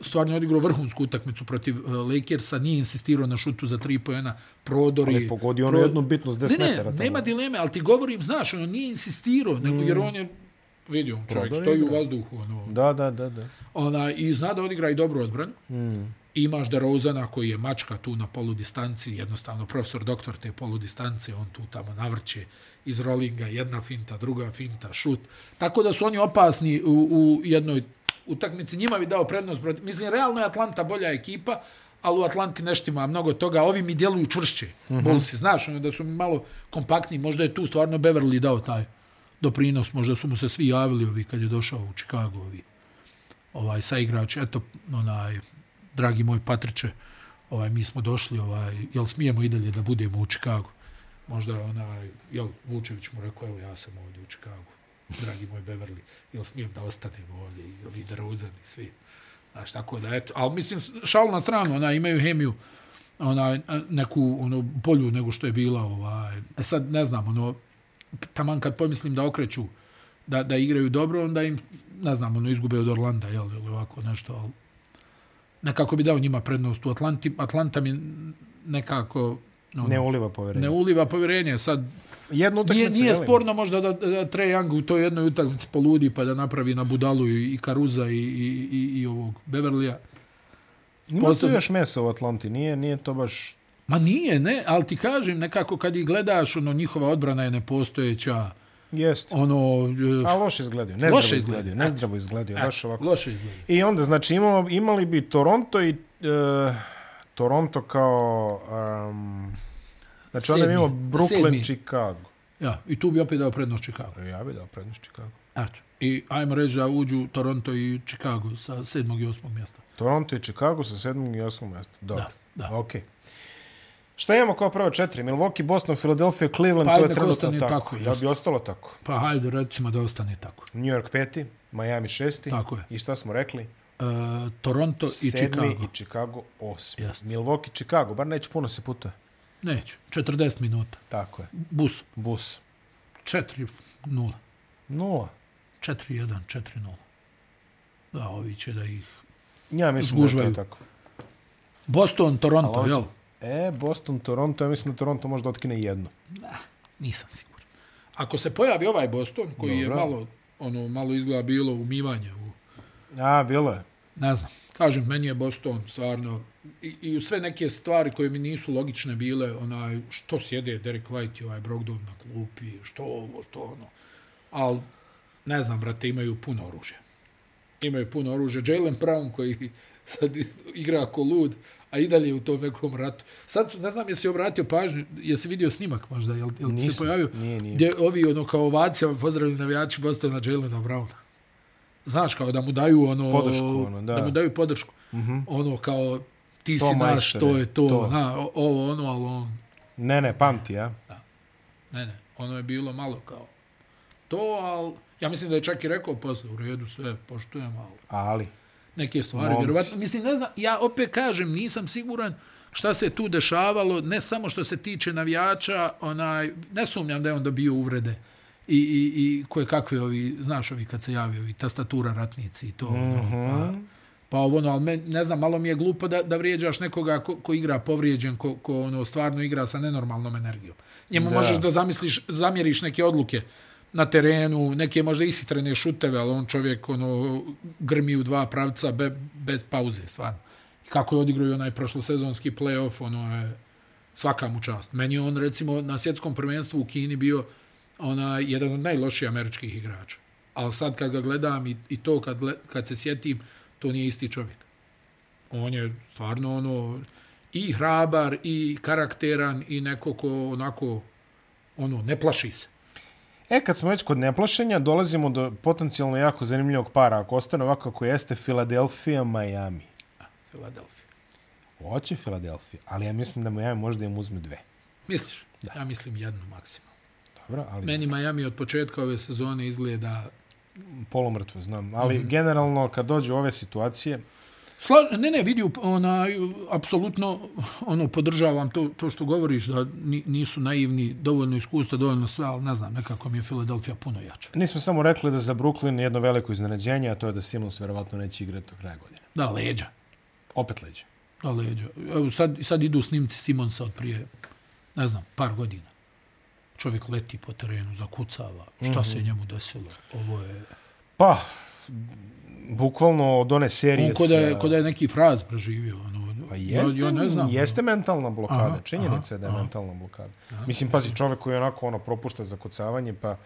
stvarno je odigrao vrhunsku utakmicu protiv e, Lakersa, nije insistirao na šutu za tri pojena, prodori.
Ali je pogodio ono jednu bitnu s 10
Ne, ne,
metara tamo.
nema dileme, ali ti govorim, znaš, on nije insistirao, nego jer on je, vidio, čovjek
Prodori
stoji u
igra.
vazduhu, ono,
Da, da, da, da.
Ona, I zna da odigra i dobru odbranu. Mm. Imaš Derozana koji je mačka tu na polu distanci, jednostavno profesor doktor te polu distance, on tu tamo navrće iz rolinga, jedna finta, druga finta, šut. Tako da su oni opasni u, u jednoj utakmici. Njima bi dao prednost. Protiv... Mislim, realno je Atlanta bolja ekipa, ali u Atlanti nešto ima mnogo toga. Ovi mi djeluju čvršće. Mm -hmm. Bullsi, znaš, ono da su mi malo kompaktni. Možda je tu stvarno Beverly dao taj doprinos. Možda su mu se svi javili ovi kad je došao u Chicago ovi ovaj sa igrač, eto, onaj, dragi moj Patriče, ovaj, mi smo došli, ovaj, jel smijemo i dalje da budemo u Čikagu? Možda onaj, jel, Vučević mu rekao, evo ja sam ovdje u Čikagu, dragi moj Beverly, jel smijem da ostanem ovdje, i ovi Drauzan i svi. Znaš, tako da, eto, ali mislim, šal na stranu, ona, imaju hemiju, ona, neku, ono, bolju nego što je bila, ovaj, e sad, ne znam, ono, taman kad pomislim da okreću, da, da igraju dobro, onda im, ne znam, ono, izgube od Orlanda, jel, ili ovako nešto, ali nekako bi dao njima prednost u Atlanti, Atlanta mi nekako, ono,
Ne uliva
ne
poverenje.
uliva povjerenje, sad,
Jednu utakmicu
Nije, nije
velim.
sporno možda da, da, da Trae Young u toj jednoj utakmici poludi pa da napravi na budalu i, i Karuza i, i, i, i ovog Beverlija.
Ima tu
posebno-
još mesa u Atlanti, nije, nije to baš...
Ma nije, ne, ali ti kažem nekako kad ih gledaš, ono, njihova odbrana je nepostojeća,
Jeste.
ono,
A loše izgledaju, nezdravo
Loše
loše
izgledaju,
izgledaju, nezdravo izgledaju, baš
e,
ovako.
loše izgleda.
I onda, znači, imamo, imali bi Toronto i... E, Toronto kao... Um, znači, onda bi
Sedmi.
imamo Brooklyn,
Sedmi.
Chicago. E,
Ja, i tu bi opet dao prednost Chicago.
Ja bi dao prednost Chicago.
Eto. I ajmo reći da uđu Toronto i Chicago sa sedmog i osmog mjesta.
Toronto i Chicago sa sedmog i osmog mjesta. Dobro.
Da, da.
Ok. Šta imamo kao prvo četiri? Milwaukee, Boston, Philadelphia, Cleveland,
Pa,
to je
nek
trenutno
ostane
tako.
tako,
ja bi
jasno.
ostalo tako.
Pa hajde, recimo da ostane tako.
New York peti, Miami šesti.
Tako je.
I šta smo rekli?
E, Toronto i
Sedmi
Chicago.
i Chicago osmi.
Jeste.
Milwaukee, Chicago, bar neće puno se putuje.
Neću. 40 minuta.
Tako je.
Bus.
Bus.
4-0. 4-1,
Nula.
4-0. Da, ovi će da ih...
Ja mislim da je
Zgužvaju.
to tako.
Boston, Toronto,
Ali
jel?
hoće- E, Boston, Toronto, ja mislim da Toronto može da otkine jedno.
Nisam siguran. Ako se pojavi ovaj Boston, koji Dobro. je
Dobro.
malo, ono, malo izgleda bilo umivanje u...
A, bilo je.
Ne znam. Kažem, meni je Boston stvarno... I, I sve neke stvari koje mi nisu logične bile, onaj, što sjede Derek White i ovaj Brogdon na klupi, što ovo, što ono. Ali, ne znam, brate, imaju puno oružja. Imaju puno oružja. Jalen Brown koji sad igra ako lud, a i dalje je u tom nekom ratu. Sad, su- ne znam, jesi obratio pažnju, jesi vidio snimak možda, jel, jel ti se
Nisam.
pojavio?
Nije, nije.
Gdje ovi, ono, kao ovacijama pozdravili navijači Bostona Jalena Browna. Znaš, kao da mu daju ono...
Podršku, ono, da. Mhm.
da mu daju podršku. Mm -hmm. Ono, kao, ti
To
si naš,
majstore,
to je
to.
to, to. Na, o- ovo, ono, ali on...
Ne, ne, pamti, ja.
Ne, ne, ono je bilo malo kao to, ali ja mislim da je čak i rekao posle, u redu sve, poštujem, ali
Ali,
neke stvari,
Momci.
vjerovatno, mislim, ne znam, ja opet kažem, nisam siguran šta se tu dešavalo, ne samo što se tiče navijača, onaj, ne sumnjam da je on dobio uvrede i, i, i koje kakve ovi, znaš ovi kad se javi, ovi tastatura ratnici i to, mm -hmm.
Mhm.
ono, pa, pa ovo, ono, ali men, ne znam, malo mi je glupo da, da vrijeđaš nekoga ko, ko igra povrijeđen, ko, ko ono, stvarno igra sa nenormalnom energijom. Njemu
Da.
da. možeš da zamisliš, zamjeriš neke odluke na terenu, neke možda ishitrene šuteve, ali on čovjek ono, grmi u dva pravca be, bez pauze, stvarno. I kako je odigrao i onaj prošlosezonski play-off, ono je svaka mu čast. Meni je on recimo na svjetskom prvenstvu u Kini bio ona, jedan od najlošijih američkih igrača. Ali sad kad ga gledam i, i to kad, gled, kad se sjetim, to nije isti čovjek. On je stvarno ono i hrabar i karakteran i neko ko onako ono ne plaši se.
E, kad smo već kod neplašenja, dolazimo do potencijalno jako zanimljivog para. Ako ostane ovako kako jeste, Philadelphia, Miami.
Philadelphia.
Hoće Philadelphia, ali ja mislim da Miami možda im uzme dve.
Misliš? Da. Ja mislim jednu maksimum.
Dobro, ali
Meni
Meni...
Miami od početka ove sezone izgleda
polomrtvo znam. Ali
Mhm.
mm -hmm. generalno, kad dođu ove situacije,
Sla... Ne, ne, vidi, onaj, apsolutno ono, podržavam to, to što govoriš, da ni, nisu naivni, dovoljno iskustva, dovoljno sve, ali ne znam, nekako mi je Filadelfija puno jača.
nismo samo rekli da za Brooklyn je jedno veliko iznenađenje, a to je da Simons verovatno neće igrati do kraja godine.
Da, leđa.
Opet leđe.
Da, leđa. Evo, sad, sad idu snimci Simonsa od prije, ne znam, par godina. Čovjek leti po terenu, zakucava. Šta mm -hmm. se
Mhm.
njemu desilo? Ovo je...
Pa, bukvalno od one serije
On ko da je,
sa-
ko da je neki fraz preživio. Ono,
Pa jeste,
ja, ja ne znam. ono.
jeste mentalna blokada, aha,
Aha,
činjenica aha,
aha,
je da je aha. mentalna blokada. Aha, mislim, pazi, čovek koji onako ono, propušta zakucavanje, pa...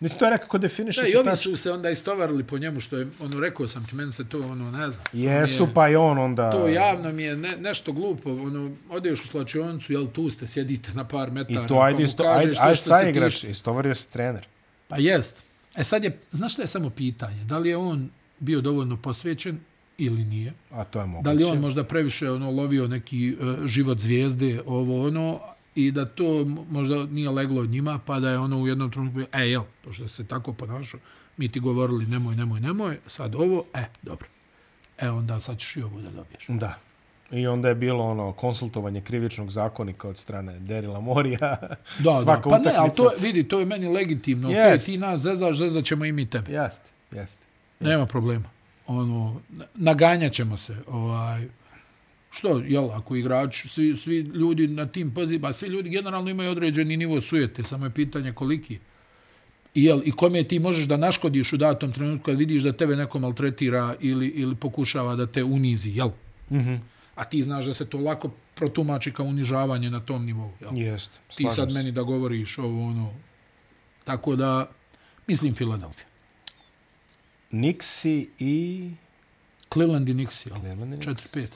Mislim, to je nekako definiše
Da, i ovi su se onda istovarili po njemu, što je, ono, rekao sam ti, meni se to, ono, ne znam.
Jesu,
Nije-
pa i on onda...
To javno mi je ne, nešto glupo, ono, odeš u slačionicu, jel tu ste, sjedite na par
I
metara.
to,
pa
ajde,
mu
isto, ajde,
kažeš sve
ajde
što te
sa igrač,
tišti.
istovario se trener.
Pa jest. E sad je, znaš šta je samo pitanje? Da li je on bio dovoljno posvećen ili nije?
A to je moguće.
Da li on možda previše ono lovio neki e, život zvijezde, ovo ono, i da to m- možda nije leglo od njima, pa da je ono u jednom trenutku, e, jel, pošto se tako ponašao, mi ti govorili nemoj, nemoj, nemoj, sad ovo, e, dobro. E, onda sad ćeš i ovo da dobiješ.
Da. I onda je bilo ono konsultovanje krivičnog zakonika od strane Derila Morija.
Da, da,
Svaka
pa ne, ali
utakmica-
to, je- vidi, to je meni legitimno. Yes.
Jest.
Okay, ti nas zezaš, zezat ćemo i mi tebe.
Jeste, jeste.
Nema problema. Ono, na- naganjat ćemo se. Ovaj, što, jel, ako igrač, svi, svi ljudi na tim poziva, svi ljudi generalno imaju određeni nivo sujete, samo je pitanje koliki. I, jel, I kome ti možeš da naškodiš u datom trenutku kad vidiš da tebe neko maltretira ili, ili pokušava da te unizi, jel? Mm
Mhm.
-hmm. A ti znaš da se to lako protumači kao unižavanje na tom nivou, jel?
Jeste,
ti
slažem
sad
se.
meni da govoriš ovo ono. Tako da, mislim Filadelfija.
Nixi i...
Cleveland i Nixi, ali
Cleveland i Knicks.
4-5.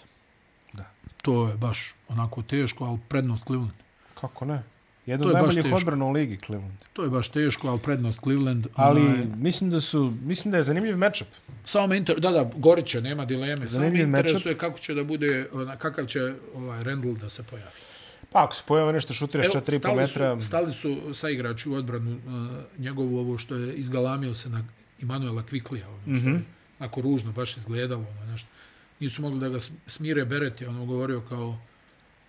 Da.
To je baš onako teško, ali prednost Cleveland.
Kako ne? Jedno
To
od
je baš
najboljih
teško.
odbrana u ligi, Cleveland.
To je baš teško, ali prednost Cleveland.
Ali
onaj,
mislim da su, mislim da je zanimljiv matchup.
samo me inter... Da, da, Gorića, nema dileme. Samo me
Zanimljiv matchup.
interesuje kako će da bude, ona, kakav će ovaj Randall da se pojavi.
Pa ako se pojave nešto šutiraš
Evo,
4,5
stali su-
metra,
Stali su sa igrači u odbranu uh, njegovu ovo što je izgalamio se na Immanuela Kviklija, ono što mm -hmm. je onako ružno baš izgledalo, ono nešto. Nisu mogli da ga s- smire Beret je ono govorio kao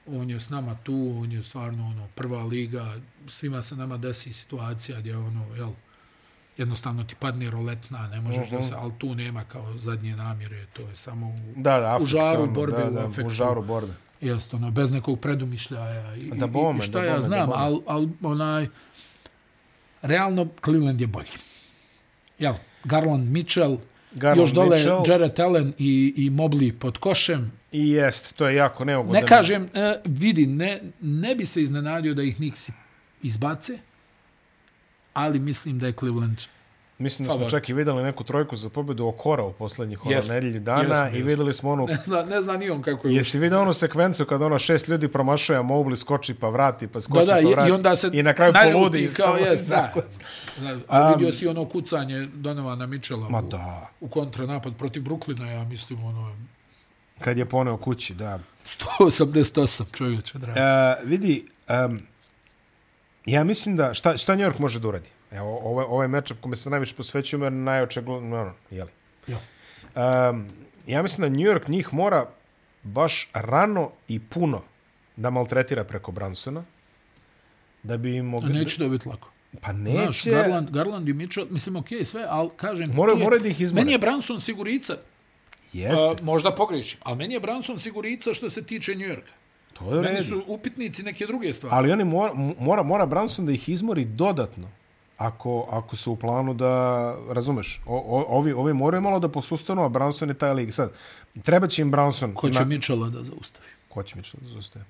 on je s nama tu, on je stvarno ono prva liga, svima se nama desi situacija gdje ono, jel, jednostavno ti padne roletna, ne možeš da se, ali tu nema kao zadnje namjere, to je samo u,
da, da, afekt,
žaru
ono,
borbe,
da,
u
da, u
afektu.
žaru borbe.
Jeste, ono, bez nekog predumišljaja i,
Da bome,
i, i šta
da
ja
bome, da
znam,
bome.
ali al, onaj, realno Cleveland je bolji. Jel, Garland Mitchell,
Garland
Garland još dole
Mitchell.
Mitchell. Jared Allen i, i Mobley pod košem.
I jest, to je jako neugodno.
Ne kažem, e, vidi, ne, ne bi se iznenadio da ih Nixi izbace, ali mislim da je Cleveland
Mislim da smo
Favor.
čak i videli neku trojku za pobjedu Okora u poslednjih ono
Jesmo,
nedelju dana
jesmo,
i
jesmo.
videli smo onu
ne zna, ne zna ni on kako je
Jesi vidio onu sekvencu kada ono šest ljudi promašuje, a Mobley skoči pa vrati, pa skoči
Da, da,
pa
i,
vrati.
i onda se
I na kraju
naljuti
poludi.
Kao,
samo- Um,
jest, da. da. A vidio si ono kucanje Donovana Mitchella
Ma
u,
da.
u kontranapad protiv Bruklina, ja mislim, ono,
Kad je poneo kući, da.
188 čovječe, drago. E,
E, vidi, um, ja mislim da, šta, šta New York može da uradi? Evo, ovaj, ovaj matchup kome se najviše posvećujemo je najočegledno, ono, jeli?
ja.
Um, ja mislim da New York njih mora baš rano i puno da maltretira preko Bransona, da bi im
A
mogli...
neće dobiti lako.
Pa
Znaš,
neće...
Garland, Garland i Mitchell, mislim, okej, okay, sve, ali kažem...
Moraju-
tu je-
moraju da ih izmore.
Meni je Branson sigurica,
Jeste,
a, možda pogrešim, ali meni je Branson sigurica što se tiče New Yorka.
to je u
Meni
redu.
su upitnici neke druge stvari.
Ali oni mora, mora, mora Branson da ih izmori dodatno. Ako, ako su u planu da, razumeš, o, o, ovi, ovi moraju malo da posustanu, a Branson je taj lig. Sad, treba će im Branson...
Ko će
ima-
Mitchella da zaustavi?
Ko će Mitchell da zaustavi?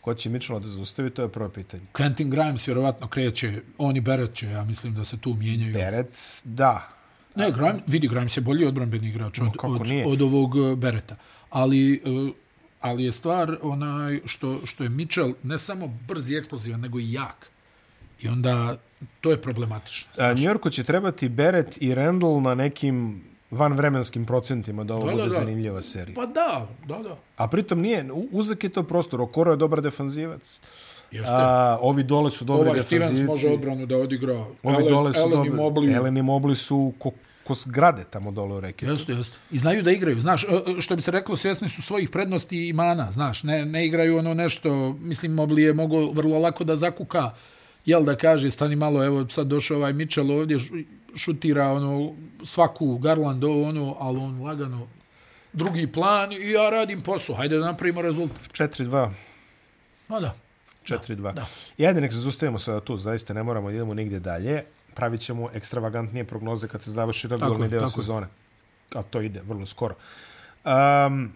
Ko će Mitchell da zaustavi, to je prvo pitanje.
Quentin Grimes vjerovatno kreće, oni Beret će, ja mislim da se tu mijenjaju.
Perec, da. E,
Ne, Grimes, vidi, Grimes je bolji odbranbeni igrač od,
kako
od,
nije?
od ovog e, Bereta. Ali, e, ali je stvar onaj što, što je Mitchell ne samo brz i eksplozivan, nego i jak. I onda to je problematično.
A, New Yorku će trebati Beret i Randall na nekim vanvremenskim procentima da ovo
Da, da,
bude
da.
zanimljiva serija.
Pa da, da, da.
A pritom nije, u- uzak je to prostor. Okoro je dobar defanzivac.
Jeste. A,
A, ovi dole su dobri
ovaj
defanzivci.
Stevens može odbranu da odigra.
Ovi
Allen-
dole su
Allen i
dobri.
Mobley.
Ellen i Mobley su ko, ko zgrade tamo dole u reke.
Jeste, jeste. I znaju da igraju, znaš, e, e, što bi se reklo, svjesni su svojih prednosti i mana, znaš, ne, ne igraju ono nešto, mislim, Mobli je mogao vrlo lako da zakuka, jel da kaže, stani malo, evo sad došao ovaj Mitchell ovdje, š- šutira ono, svaku Garland ovo ono, ali on lagano drugi plan i ja radim posao, hajde da napravimo rezultat.
4-2.
No da,
4-2.
da.
I Ajde, nek se zustavimo sada tu, zaista ne moramo da idemo nigde dalje. Pravit ćemo ekstravagantnije prognoze kad se završi regularni
je,
deo
tako je.
sezone. A to ide vrlo skoro. Um,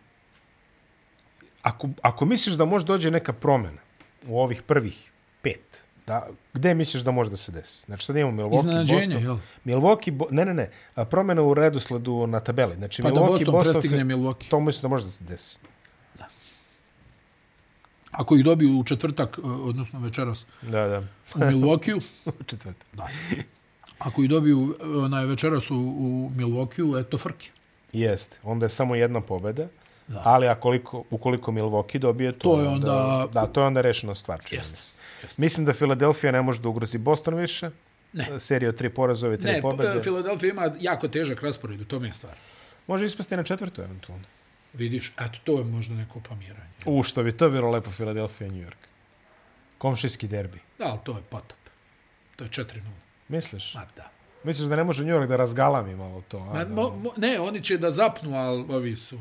ako, ako misliš da može dođe neka promjena u ovih prvih pet, da, gde misliš da može da se desi? Znači sad imamo Milwaukee,
Iznenađenje,
Boston.
jel?
Milwaukee, Bo ne, ne, ne, a, promjena u redosledu na tabeli. Znači,
Pa da
Milwaukee,
Boston prestigne Milwaukee.
To mislim da može da se desi.
Ako ih dobiju u četvrtak, e, odnosno večeras,
Da, da.
u Milwaukee,
Četvrta.
ako ih dobiju e, onaj večeras u, u Milwaukee, eto frke.
Jeste, onda je samo jedna pobeda. Da. Ali akoliko, ukoliko Milwaukee dobije, to,
To je onda-
Da, to je onda rešena stvar. čini mi
Jeste,
se. Mislim da Filadelfija ne može da ugrozi Boston više.
Ne.
Serija od tri poraza, ove tri
Ne, e,
pobede.
pobjede. Filadelfija ima jako težak raspored, u tome je stvar.
Može ispasti na četvrtu eventualno.
Vidiš, eto, to je možda neko pomiranje.
U, što bi to bilo lepo Filadelfija i New York. Komšijski derbi.
Da, ali to je potop. To je 4-0.
Misliš?
Ma da.
Misliš da ne može New York da razgalami malo to? A,
Ma,
da.
mo, mo, ne, oni će da zapnu, ali ovi su...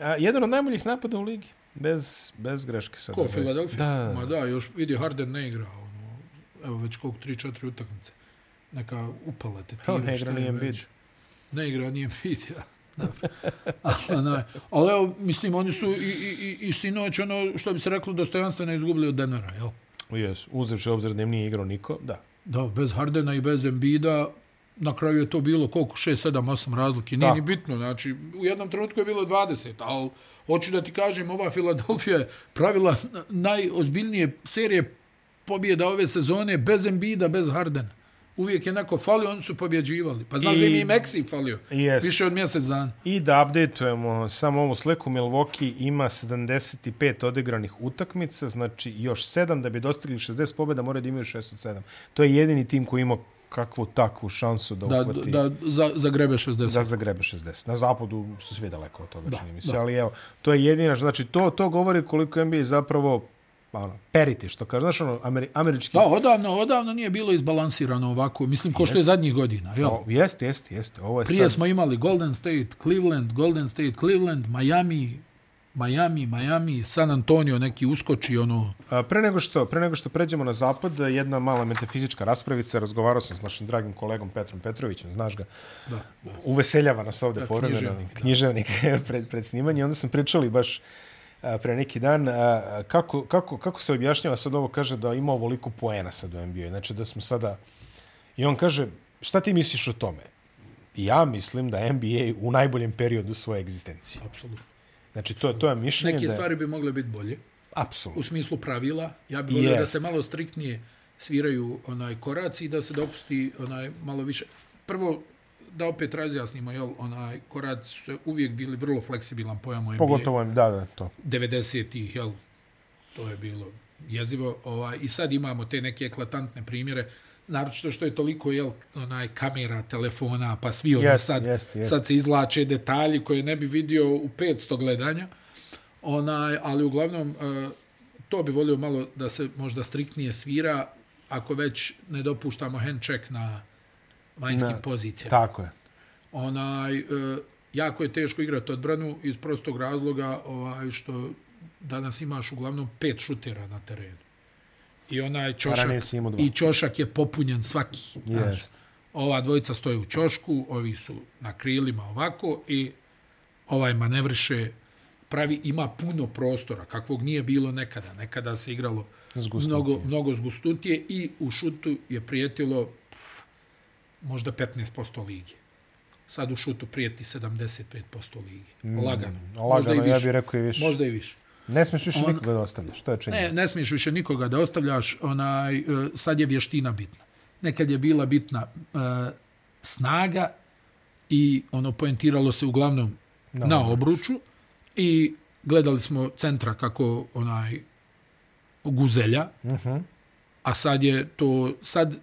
a, jedan od najboljih napada u ligi. Bez, bez greške sada.
Ko,
zaista.
Filadelfija?
Da.
Ma da, još vidi, Harden ne igra. Ono, evo već koliko, 3-4 utakmice. Neka upala te
Kao
time.
Pa, ne
šta
igra
je
nije
već.
bid.
Ne igra, nije bit, ja. Dobro. ali, onaj, ali evo, mislim, oni su i, i, i, i sinoć, ono, što bi se reklo, dostojanstveno izgubili od Denvera, jel?
Jes, uzevši obzir da im nije igrao niko, da.
Da, bez Hardena i bez Embida na kraju je to bilo koliko 6 7 8 razlike, nije
Da.
ni bitno, znači u jednom trenutku je bilo 20, al hoću da ti kažem ova Filadelfija je pravila n- najozbiljnije serije pobjeda ove sezone bez Embida, bez Hardena. uvijek je neko falio, oni su pobjeđivali. Pa znaš I... da
I-
im je i Meksi falio.
Jest.
Više od mjesec dana.
I da updateujemo samo ovu sliku, Milwaukee ima 75 odigranih utakmica, znači još 7 da bi dostigli 60 pobjeda moraju da imaju 6 od 7. To je jedini tim koji ima kakvu takvu šansu da,
Da,
uhvati
da za, zagrebe 60.
da zagrebe 60. Na zapadu su svi daleko od toga, da, čini mi se.
da.
Ali evo, to je jedina, znači to, to govori koliko NBA zapravo ono, periti, što kaže, znaš ono, ameri, američki...
Da, odavno, odavno nije bilo izbalansirano ovako. Mislim, ko što je zadnjih godina. Jel?
O, jeste, jeste, jeste. Ovo je
Prije
sad,
smo imali Golden State, Cleveland, Golden State, Cleveland, Miami, Miami, Miami, San Antonio neki uskoči, ono,
A, Pre nego, što, pre nego što pređemo na zapad, jedna mala metafizička raspravica. Razgovarao sam s našim dragim kolegom Petrom Petrovićem, znaš ga.
da, da.
Uveseljava nas ovde povremeno.
književnik, da.
Književnik pred, pred snimanje. Onda smo pričali baš a, pre neki dan a, kako, kako, kako se objašnjava sad ovo kaže da ima ovoliko poena sad u NBA. Znači da smo sada... I on kaže, šta ti misliš o tome? I Ja mislim da NBA u najboljem periodu svoje egzistencije.
apsolutno.
Znači, to, to je mišljenje
Neke
da je...
stvari bi mogle biti bolje, u
Apsolutno.
smislu pravila. Ja bih volio da
Jest.
se malo striktnije sviraju onaj koraci i da se dopusti onaj malo više. Prvo, da opet razjasnimo, jel, onaj koraci su uvijek bili vrlo fleksibilan pojam u NBA.
Pogotovo, da, da, to.
90-ih, jel, to je bilo jezivo. Ovaj, I sad imamo te neke eklatantne primjere, naročito što je toliko, jel, onaj, kamera, telefona, pa svi ono
Jest,
sad,
jest, jest.
sad se izvlače detalji koje ne bi vidio u 500 gledanja. Onaj, ali uglavnom, eh, to bi volio malo da se možda striktnije svira, ako već ne dopuštamo hand check na vanjskim
Na-
pozicijama
Tako je.
onaj e, jako je teško igrati odbranu iz prostog razloga ovaj što danas imaš uglavnom pet šutera na terenu. I onaj ćošak
Ranije si imao dva.
i ćošak je popunjen svaki. znaš.
Jest.
Ova dvojica stoje u ćošku, ovi su na krilima ovako i ovaj manevriše pravi ima puno prostora kakvog nije bilo nekada. Nekada se igralo
Zgusnutije.
mnogo mnogo zgustutije i u šutu je prijetilo pff, možda 15% lige. Sad u šutu prijeti 75% lige. Lagano. možda i
Mm, Lagano,
više.
ja bih rekao i više.
Možda i više.
Ne smiješ više nikoga da ostavljaš, to je činjenica.
Ne, ne smiješ više nikoga da ostavljaš, onaj, e, sad je vještina bitna. Nekad je bila bitna e, snaga i ono poentiralo se uglavnom na, na obruču i gledali smo centra kako onaj guzelja, uh -huh. a sad je to, sad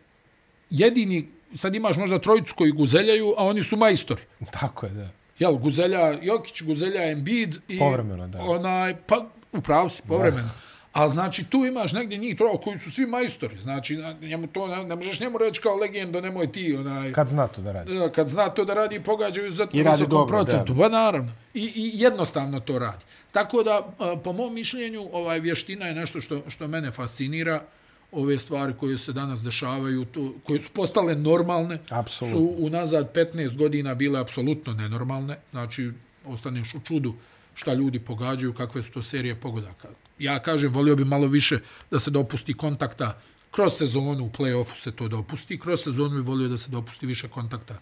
jedini, sad imaš možda trojicu koji guzeljaju, a oni su majstori.
Tako je, da.
Jel, Guzelja Jokić, Guzelja Embiid i...
Povremeno, da.
Onaj, pa, upravo si, povremeno. Ali znači tu imaš negdje njih troja koji su svi majstori. Znači na- njemu to ne, ne možeš njemu reći kao legendo nemoj ti onaj kad,
Kad zna to da radi.
kad zna to da radi pogađaju za
I radi
visokom
dobro,
procentu. Da. Pa naravno. I, I jednostavno to radi. Tako da a, po mom mišljenju ovaj vještina je nešto što što mene fascinira ove stvari koje se danas dešavaju, tu, koje su postale normalne,
Apsolutno.
su unazad 15 godina bile apsolutno nenormalne. Znači, ostaneš u čudu šta ljudi pogađaju, kakve su to serije pogodaka. Ja kažem, volio bi malo više da se dopusti kontakta kroz sezonu, u play-offu se to dopusti, kroz sezonu bi volio da se dopusti više kontakta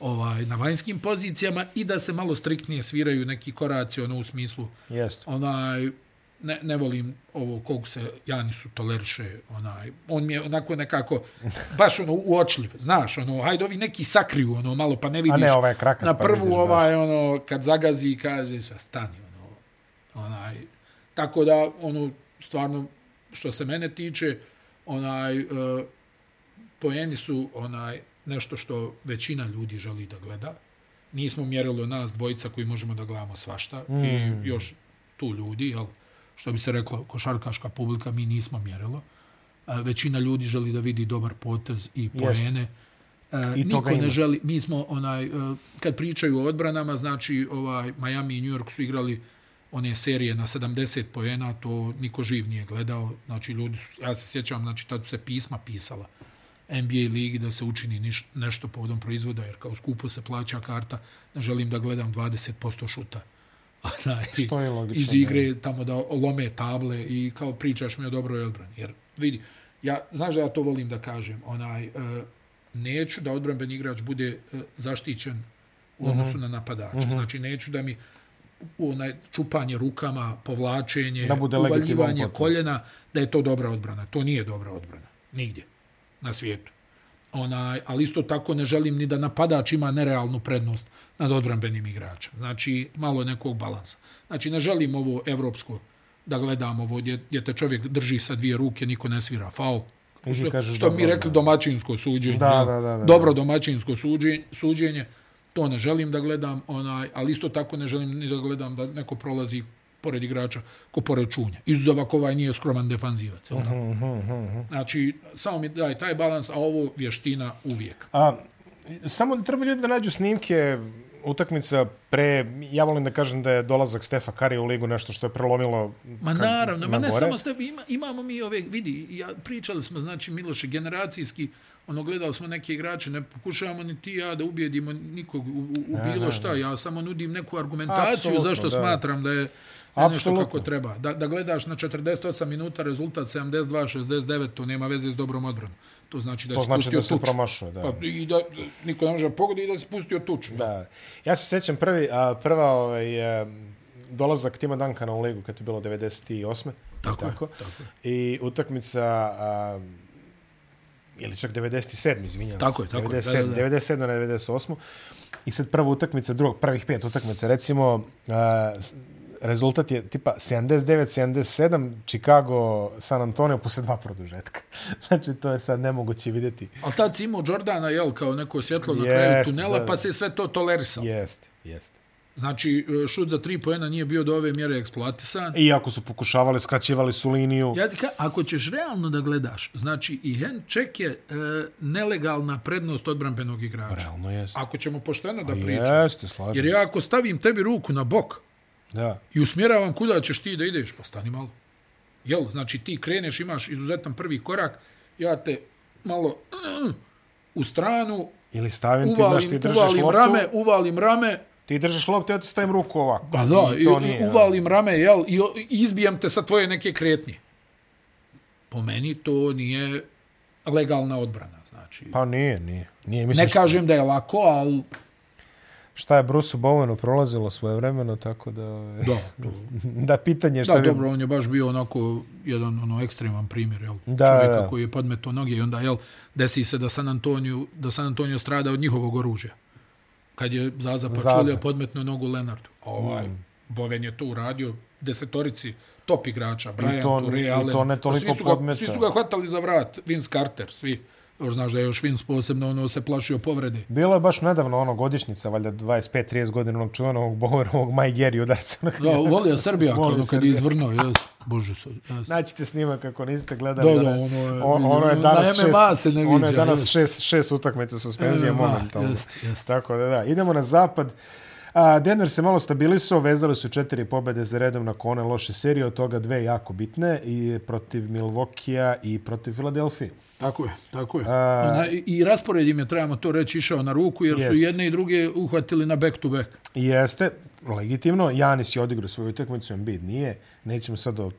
ovaj, na vanjskim pozicijama i da se malo striktnije sviraju neki koraci ono u smislu
Jeste.
onaj ne, ne volim ovo koliko se Janisu toleriše onaj on mi je onako nekako baš ono uočljiv znaš ono hajde ovi neki sakriju ono malo pa ne vidiš
ne, ovaj je krakat,
na
pa
prvu
vidiš, da.
ovaj ono kad zagazi kaže sa stani ono onaj tako da ono stvarno što se mene tiče onaj e, poeni su onaj nešto što većina ljudi želi da gleda. Nismo mjerilo nas dvojica koji možemo da gledamo svašta mm. i još tu ljudi, jel, što bi se reklo košarkaška publika, mi nismo mjerilo. A, Većina ljudi želi da vidi dobar potez i poene. E,
I toga
Niko
ima.
ne želi, mi smo onaj, e, kad pričaju o odbranama, znači ovaj, Miami i New York su igrali one serije na 70 poena, to niko živ nije gledao. Znači, ljudi su, ja se sjećam, znači, tad su se pisma pisala NBA ligi da se učini niš, nešto povodom proizvoda, jer kao skupo se plaća karta, ne želim da gledam 20% šuta. Onaj,
Što je logično,
Iz igre tamo da lome table i kao pričaš mi o dobroj odbrani. Jer vidi, ja, znaš da ja to volim da kažem, onaj, e, neću da odbranben igrač bude e, zaštićen u
Mhm.
odnosu na napadača. Znači, neću da mi onaj čupanje rukama, povlačenje,
Da bude legitiman
uvaljivanje
potez.
koljena, da je to dobra odbrana. To nije dobra odbrana. Nigdje na svijetu. Onaj, ali isto tako ne želim ni da napadač ima nerealnu prednost nad odbranbenim igračem. Znači, malo nekog balansa. Znači, ne želim ovo evropsko da gledam ovo gdje, gdje te čovjek drži sa dvije ruke, niko ne svira faul.
I ti
Što,
kažeš
što
dobro,
mi rekli
da.
domaćinsko suđenje.
Da,
jel?
da, da, da,
dobro domaćinsko suđenje, suđenje, to ne želim da gledam, onaj, ali isto tako ne želim ni da gledam da neko prolazi pored igrača ko pored čunja. Izuzov ako ovaj nije skroman defanzivac. Jel, da?
Mhm,
Znači, samo mi daj taj balans, a ovo vještina uvijek.
A, samo da treba ljudi da nađu snimke utakmica pre, ja volim da kažem da je dolazak Stefa Karija u ligu nešto što je prelomilo
Ma
ka-
naravno, ma
na
ne
gore.
samo ste, ima, imamo mi ove, vidi, ja, pričali smo, znači, Miloše, generacijski, ono, gledali smo neke igrače, ne pokušavamo ni ti i ja da ubijedimo nikog u, u, u bilo šta, ja samo nudim neku argumentaciju
Apsolutno,
zašto
da.
smatram da je da je nešto
Apsolutno.
kako treba. Da, da gledaš na 48 minuta rezultat 72-69, to nema veze s dobrom odbranom. To znači da
To
si
znači
pustio
da se
tuč.
promašuje, da.
Pa, i da, niko ne može da pogodi i da si pustio tuču.
Da. Ja se sjećam prvi, a, prva ovaj, a, dolazak Tima Duncana u ligu kad je bilo 98.
Tako je,
tako. I utakmica a, ili čak 97, izvinjam se.
Tako je, tako je, da,
97,
da, da.
97 na 98. I sad prva utakmica, drugog, prvih pet utakmica, recimo, a, s- rezultat je tipa 79-77, Chicago, San Antonio, posle dva produžetka. znači, to je sad nemoguće vidjeti.
Ali tad si imao Jordana, jel, kao neko svjetlo na kraju
Jest,
tunela,
da.
pa se sve to tolerisalo.
Jeste, jeste.
Znači, šut za tri pojena nije bio do ove mjere eksploatisan.
Iako su pokušavali, skraćivali su liniju.
Ja ti ka, ako ćeš realno da gledaš, znači i hand check je e, nelegalna prednost odbrambenog igrača.
Realno jeste.
Ako ćemo pošteno da pričamo.
Jeste, slažem.
Jer ja ako stavim tebi ruku na bok
Da.
i usmjeravam kuda ćeš ti da ideš, pa stani malo. Jel, znači ti kreneš, imaš izuzetan prvi korak, ja te malo mm, u stranu,
Ili stavim ti, znaš, ti
uvalim,
držiš
uvalim
loptu,
rame, uvalim rame,
ti držiš loptu, ja ti stavim ruku ovako.
Pa da,
I
i,
to nije,
i uvalim rame, jel, i o- i izbijem te sa tvoje neke kretnje. Po meni to nije legalna odbrana, znači.
Pa nije, nije. Nije, mislim,
Ne
Neka...
kažem da je lako, ali
šta je Bruce Bowenu prolazilo svoje vremeno, tako da... ovaj,
da, to,
da, pitanje je šta
da
bi...
dobro, on je baš bio onako jedan ono ekstreman primjer, jel,
Da,
čovjeka
da.
koji je podmeto noge i onda, jel, desi se da San Antonio, da San Antonio strada od njihovog oružja. Kad je Zaza počulio podmetno nogu Lenardu. A Ovaj, mm. Boven je to uradio desetorici top igrača, Brian,
to-
Toure,
i to
Allen.
ne
Pa
toliko
svi su ga,
podmetao.
Svi su ga hvatali za vrat, Vince Carter, svi. Još znaš da je još Vince posebno ono se plašio povrede.
Bilo je baš nedavno ono godišnjica, valjda 25-30 godina onog čuvenog Bowerovog Mike Gary udarca.
Da, volio Srbija,
Volio
ono kad je
Srbija.
izvrnuo, jes, bože, sad, jes.
Naćite snimak kako niste gledali.
Da, da,
ono,
ono je-
je, on, ono je
na
danas
MMA
šest,
se ne
ono je
viđa,
danas
jest.
šest, šest utakmica suspenzije
MMA,
momentalno.
jest, jest.
Tako da, da. Idemo na zapad. A, Denver se malo stabilisao, vezali su četiri pobede za redom na kone loše serije, od toga dve jako bitne, i protiv Milvokija i protiv Filadelfije.
Tako je, tako je. Ona, i, I raspored im je, trebamo to reći, išao na ruku, jer
Jest.
su jedne i druge uhvatili na back to back.
I Jeste, legitimno, Janis je odigrao svoju utakmicu, Embiid nije, nećemo sad o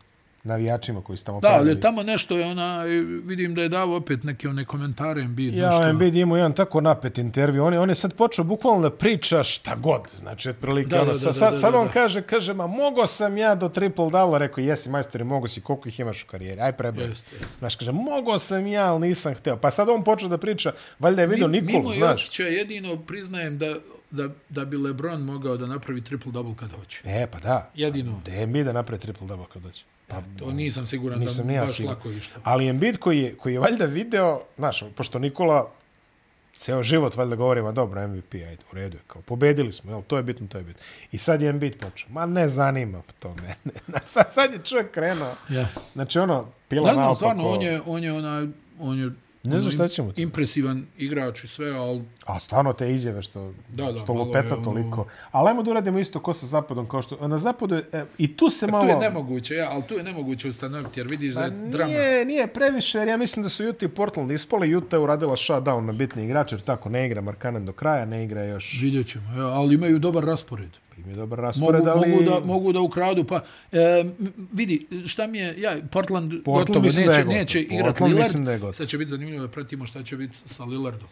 navijačima koji su tamo
Da,
pravili.
ali tamo nešto je ona, vidim da je davo opet neke one komentare Embiid, ja,
Ja,
nešto.
Embiid je imao jedan tako napet intervju. On je, on je sad počeo bukvalno da priča šta god. Znači, otprilike,
Da,
ono,
da,
da,
da,
sad, sad,
da,
sad
da,
on
da.
kaže, kaže, ma mogo sam ja do triple double. Rekao, jesi, majstori, mogo si, koliko ih imaš u karijeri? Aj, preboj.
Jeste,
Znaš, kaže, mogo sam ja, ali nisam hteo. Pa sad on počeo da priča, valjda je vidio Mi, Nikolu,
Mimo
znaš.
Jokića jedino priznajem da, da, da bi LeBron mogao da napravi triple-double kad hoće.
E, pa da.
Jedino.
Da je Embiid da napravi triple double kad dođe. Pa,
To nisam siguran
nisam
da
ni ja
baš
siguran.
lako išlo.
Ali Embiid koji je, koji je valjda video, znaš, pošto Nikola ceo život valjda govori, ma dobro, MVP, ajde, u redu je, kao, pobedili smo, jel, to je bitno, to je bitno. I sad je Embiid počeo, ma ne zanima to mene. Znaš, sad, sad je čovjek krenuo,
Ja.
znači ono, pila
Ne znam,
naopako.
stvarno, on je, on je onaj, on je
Ne znam
ono,
šta ćemo ti.
impresivan igrač i sve, ali
A stvarno te izjave što,
Da, da,
što
malo je
lupeta
ono-
toliko. Ali ajmo da uradimo isto ko sa zapadom, kao što, na zapadu je, e, i tu se malo...
Tu je nemoguće, ja, ali tu je nemoguće ustanoviti, jer vidiš da je
Pa
drama.
Nije, nije previše, jer ja mislim da su Utah i Portland ispali. Utah je uradila shutdown na bitni igrač, jer tako ne igra Markanen do kraja, ne igra još.
Vidjet ćemo, ja, ali imaju dobar raspored.
Im je dobar
Mogu,
raspored, ali...
mogu, da, mogu da ukradu, pa e, m, vidi, šta mi je, ja, Portland,
Portland
gotovo neće,
mislim da je gotov.
neće igrati
Portland
Lillard,
mislim da je gotov.
sad će biti zanimljivo da pratimo šta će biti sa Lillardom.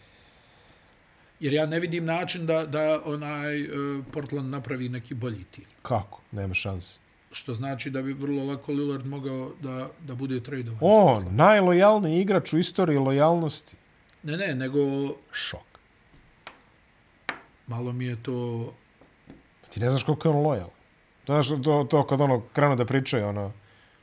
Jer ja ne vidim način da, da onaj e, Portland napravi neki bolji tim.
Kako? Nema šanse.
Što znači da bi vrlo lako Lillard mogao da, da bude tradovan.
On, najlojalniji igrač u istoriji lojalnosti.
Ne, ne, nego
Šok.
malo mi je to...
Pa Ti ne znaš koliko je on lojal. To, znaš, to, to kad ono krenu da pričaju, ono,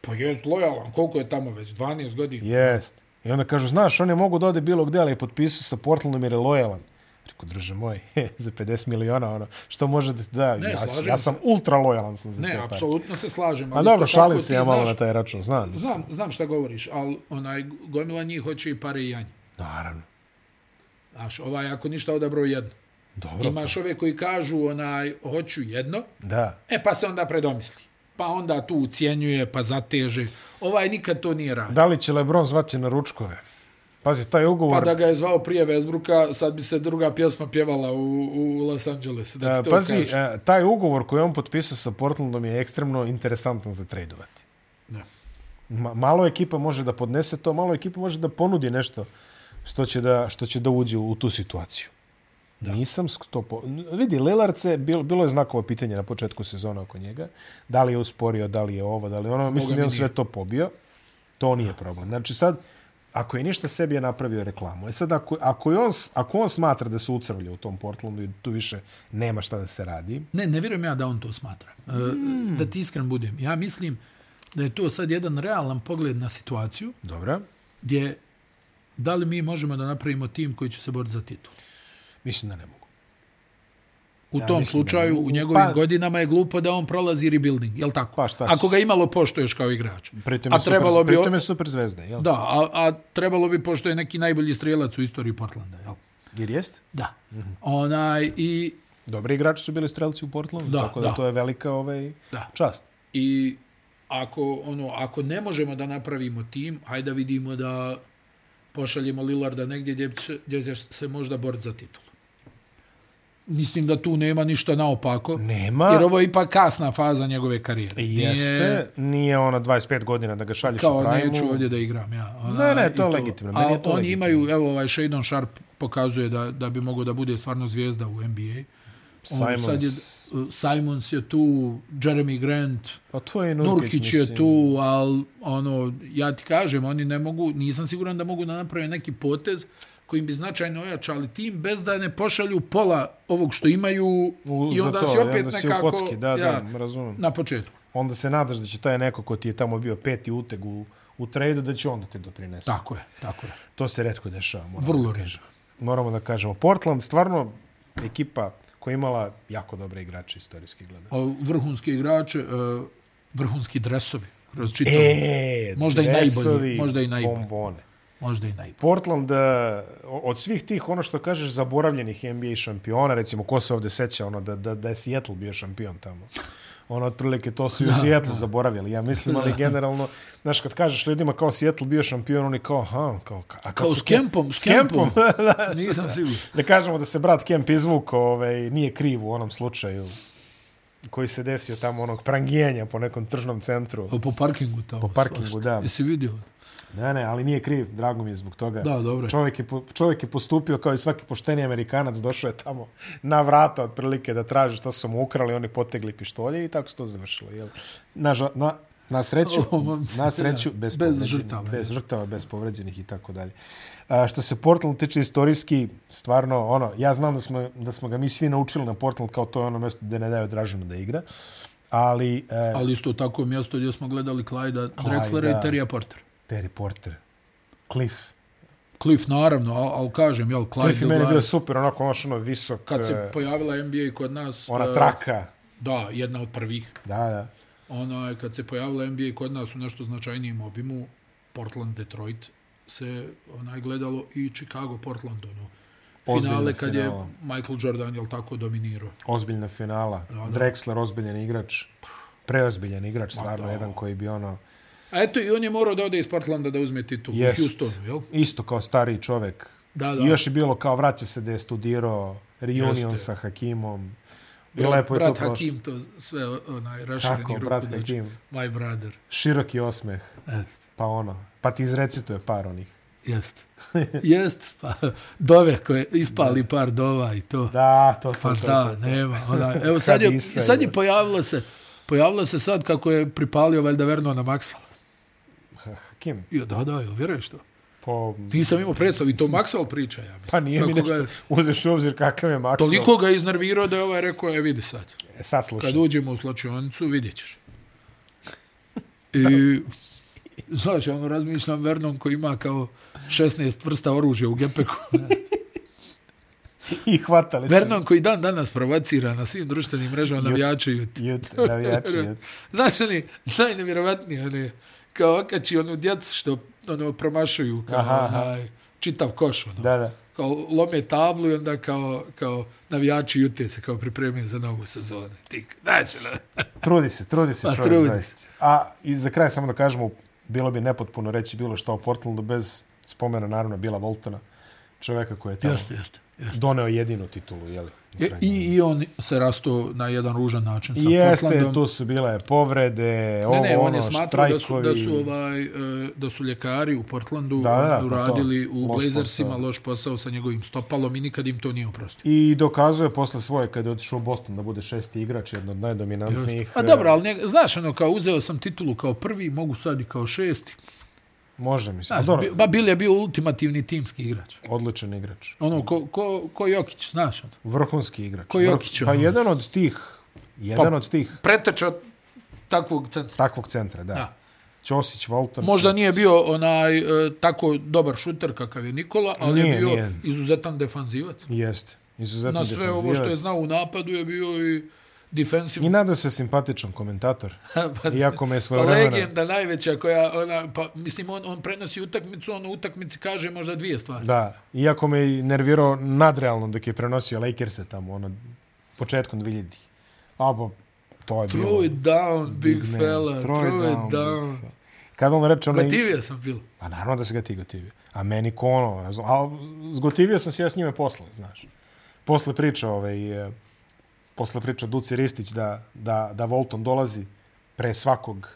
Pa je lojalan, koliko je tamo već, 12 godina.
jest. I onda kažu, znaš, on je mogu da ode bilo gde, ali je potpisao sa Portlandom jer je lojalan. Rekao, druže moj, za 50 miliona, ono, što može da ti da?
Ne,
ja,
slažem
ja
se.
sam ultra lojalan sam za
Ne,
te pare.
apsolutno se slažem.
A
ali
Pa dobro,
isto tako
šalim
ti
se ja malo
znaš-
na taj račun, znam. da sam-
Znam, znam šta govoriš, ali onaj gomila njih hoće i pare i janje.
Naravno.
Znaš, ovaj ako ništa odabro jedno.
Dobro.
Imaš ove koji kažu onaj hoću jedno,
Da.
e pa se onda predomisli. Pa onda tu ucijenjuje, pa zateže. Ovaj nikad to nije radio.
Da li će Lebron zvati na ručkove? Pazi, taj
Pa
ugovor...
da ga je zvao prije Vesbruka, sad bi se druga pjesma pjevala u, u Los Angelesu. Da ti
E,
to
Pazi,
kažem.
e, taj ugovor koji je on potpisao sa Portlandom je ekstremno interesantan za tradovati.
Da.
Ma, malo ekipa može da podnese to, malo ekipa može da ponudi nešto što će da, što će da uđe u tu situaciju. Da. Nisam to po... Vidi, Lillard se, bilo, bilo je znakovo pitanje na početku sezona oko njega. Da li je usporio, da li je ovo, da li je ono. Mislim
mi
da je on
nije.
sve to pobio. To nije problem. Znači sad, ako je ništa sebi je napravio reklamu. E sad, ako, ako, je on, s- ako on smatra da se ucrvlja u tom Portlandu i tu više nema šta da se radi,
Ne, ne vjerujem ja da on to smatra. E,
Mm.
Da ti iskren budem. Ja mislim da je to sad jedan realan pogled na situaciju
dobro.
gdje da li mi možemo da napravimo tim koji će se boriti za titul.
Mislim da ne mogu.
U
Ja
tom
mislim da
slučaju,
ne.
u njegovim
Pa-
godinama je glupo da on prolazi rebuilding, jel tako?
Pa šta
Ako
će?
ga imalo poštoješ kao igrač.
Pritom
a
je, super,
trebalo bi,
pritom je super zvezda, jel?
da, a, a trebalo bi pošto je neki najbolji strelac u istoriji Portlanda, jel?
Jer jest?
Da.
Mhm.
Onaj, i,
Dobri igrači su bili strelci u Portlandu,
Da,
tako da,
da.
to je velika ovaj,
Da.
čast.
I ako, ono, ako ne možemo da napravimo tim, hajde da vidimo da pošaljemo Lillarda negdje gdje, će, gdje će se možda boriti za titul. Mislim da tu nema ništa naopako.
Nema.
Jer ovo je ipak kasna faza njegove karijere. Nije-
Jeste, nije ono 25 godina da ga šalješ u
kao
primu.
neću ovdje da igram ja.
Ne, ne,
i
to je legitimno,
A
meni je to
oni
legitimno.
imaju, evo ovaj Shadon Sharp pokazuje da, da bi mogao da bude stvarno zvijezda u NBA. On
Simons.
Sad je, Simons je tu, Jeremy Grant,
Pa to je i Nurkić,
Nurkić je
mislim.
tu, ali ono, ja ti kažem, oni ne mogu, nisam siguran da mogu da naprave neki potez kojim bi značajno ojačali tim bez da ne pošalju pola ovog što imaju
U,
i onda
za to,
si opet
onda si u
nekako
kocki, da, da, razumem.
na početku.
Onda se nadaš da će taj neko ko ti je tamo bio peti uteg u, u tradu, da će onda te doprinese.
Tako je, tako je.
To se redko dešava. Moramo,
Vrlo režim.
moramo da kažemo. Portland stvarno ekipa koja je imala jako dobre igrače istorijski gledano.
o, vrhunske igrače, e, vrhunski dresovi, kroz čitavu, e,
E,
Možda i najbolji,
dresovi,
možda i najbolji.
Bombone.
možda i najbolji.
Portland, eh, od svih tih, ono što kažeš, zaboravljenih NBA šampiona, recimo, ko se ovde seća, ono, da, da, da je Seattle bio šampion tamo. Ono, otprilike, to su i u Seattle zaboravili, ja mislim, ali generalno, znaš, kad kažeš ljudima kao Seattle bio šampion, oni kao, aha, kao, ka- a kad
Kao
su
s
Kemp-
Kempom, s
s Kempom.
Kempom. Nisam siguran.
Da kažemo da se brat Kemp izvuko, ovaj, nije kriv u onom slučaju koji se desio tamo onog prangijenja po nekom tržnom centru.
O, Pa po parkingu tamo. Po
parkingu, da.
Jesi vidio?
Ne, ne, ali nije kriv, drago mi je zbog toga.
Da, dobro je.
Čovjek je, po- čovjek je postupio kao i svaki pošteni Amerikanac, došao je tamo na vrata otprilike da traži šta su mu ukrali, oni potegli pištolje i tako se to završilo. Jel? Na, ža- na, na sreću,
O, momci,
na sreću
da.
bez,
Bez
povređenih-
žrtava,
bez žrtava, bez povređenih i tako dalje. A, što se Portland tiče istorijski, stvarno, ono, ja znam da smo, da smo ga mi svi naučili na Portland kao to je ono mjesto gdje ne daju Dražanu da igra, ali e,
Ali isto tako mjesto gdje smo gledali Clyda Drexlera i
da.
Terija Portera.
Terry Porter, Cliff,
Cliff, naravno, ali al kažem, jel, Clyde
Cliff je meni
Glide,
bio super, onako ono što ono visok,
kad
e,
se pojavila NBA kod nas...
ona
e,
traka.
Da, jedna od prvih.
Da, da.
Ona, kad se pojavila NBA kod nas u nešto značajnijem obimu, Portland, Detroit, se onaj gledalo i Chicago, Portland, ono.
Ozbiljno
Finale kad je
finala.
Michael Jordan, jel tako, dominirao.
Ozbiljna finala. Drexler, ozbiljan igrač. Preozbiljan igrač, stvarno, jedan koji bi ono...
A eto, i on je morao da ode iz Portlanda da uzme titul
Jest.
u Houstonu, jel?
Isto kao stariji čovek.
Da, da.
I još je bilo kao vraća se da je studirao reunion
Jeste.
sa Hakimom. I
Brat-
lepo je
brat
to prošlo.
Hakim to sve onaj rašireni
Tako, brat
rukodač.
Hakim.
My brother.
Široki osmeh.
Jest.
Pa ono. Pa ti izrecituje par onih.
Jest. Jest, pa dove koje ispali par dova i to.
Da, to, to,
Pa
to, to.
da, nema. Ona, evo sad je,
Hadisa,
sad je
jel?
pojavilo se, pojavilo se sad kako je pripalio valjda Vernona Maxwell.
Hakim.
Jo, da, da, jo, vjeruješ to?
Po,
Nisam imao predstavu i to Maxwell priča, ja mislim.
pa nije mi
Kako ga-
nešto, uzeš u obzir kakav je Maxwell.
Toliko ga je iznervirao da je ovaj rekao, je vidi sad.
E, sad slušaj.
Kad uđemo u slačionicu, vidjet ćeš. I, znaš, ono, razmišljam Vernon koji ima kao 16 vrsta oružja u gepeku.
I hvatali
Vernon koji dan danas provocira na svim društvenim mrežama navijače i
se. Jut, navijači, jut.
Znaš, oni, najnevjerovatnije, one, kao okači onu djecu što ono, promašuju, kao
Aha, aha.
onaj, čitav koš, ono.
Da, da.
kao lome tablu i onda kao, kao navijači jute se kao pripremaju za novu sezonu. Tik, znači, ono,
Trudi se, trudi se
Pa,
čovjek,
trudi
zaista. A i za kraj samo da kažemo, bilo bi nepotpuno reći bilo što o Portlandu bez spomena naravno Bila Boltona, čovjeka koji je tamo
jeste, jeste. jeste. E,
doneo jedinu titulu, jeli?
I, i, I on se rasto na jedan ružan način sa
Jeste,
Portlandom.
tu su bile povrede, ovo,
Ne, ne, on
ono,
je smatrao da su,
štrajkovi.
da su, ovaj, e, da su ljekari u Portlandu
Da, da,
da,
pa to.
uradili u
Loš
Blazersima
posao.
loš posao sa njegovim stopalom i nikad im to nije oprostio.
I dokazuje posle svoje, kada je otišao u Boston, da bude šesti igrač, jedan od najdominantnijih.
A dobro, ali ne, znaš, ono, kao uzeo sam titulu kao prvi, mogu sad i kao šesti.
Može, mislim.
Znaš,
Znaš, Pa dobro,
bi- ba, Bill je bio ultimativni timski igrač.
odličan igrač.
Ono, ko, ko, ko Jokić, znaš, ono.
Vrhunski igrač.
Ko
Vrh-
Jokić,
Pa
ono.
jedan od tih, jedan
Pa-
od tih
preteča takvog centra.
takvog centra, da.
Da.
Ćosić, Walton.
Možda nije bio onaj e, tako dobar šuter kakav je Nikola, ali
Nije,
je bio
nije.
izuzetan defanzivac.
Jeste. Izuzetno
Na sve ovo što je
defanzivac.
znao u napadu je bio i
I
defensivan.
nada se simpatičan komentator.
pa,
Iako me je svoje
pa
vremena...
legenda najveća koja, ona, pa, mislim, on, on prenosi utakmicu, on u utakmici kaže možda dvije stvari.
Da, iako me je nervirao nadrealno dok je prenosio Lakers-e tamo, ono, početkom 2000. A, pa, to je bilo...
Troy down, big,
Big man.
fella,
Troy
Troy
down,
down.
big fella. Kad on reče onaj...
Gotivio sam bilo.
Pa naravno da se ga ti gotivio. A meni ko ono, razum, a zgotivio sam se ja s njime posle, znaš. Posle priča, ovaj, e, posle priča Duci Ristić da, da, da Volton dolazi pre svakog,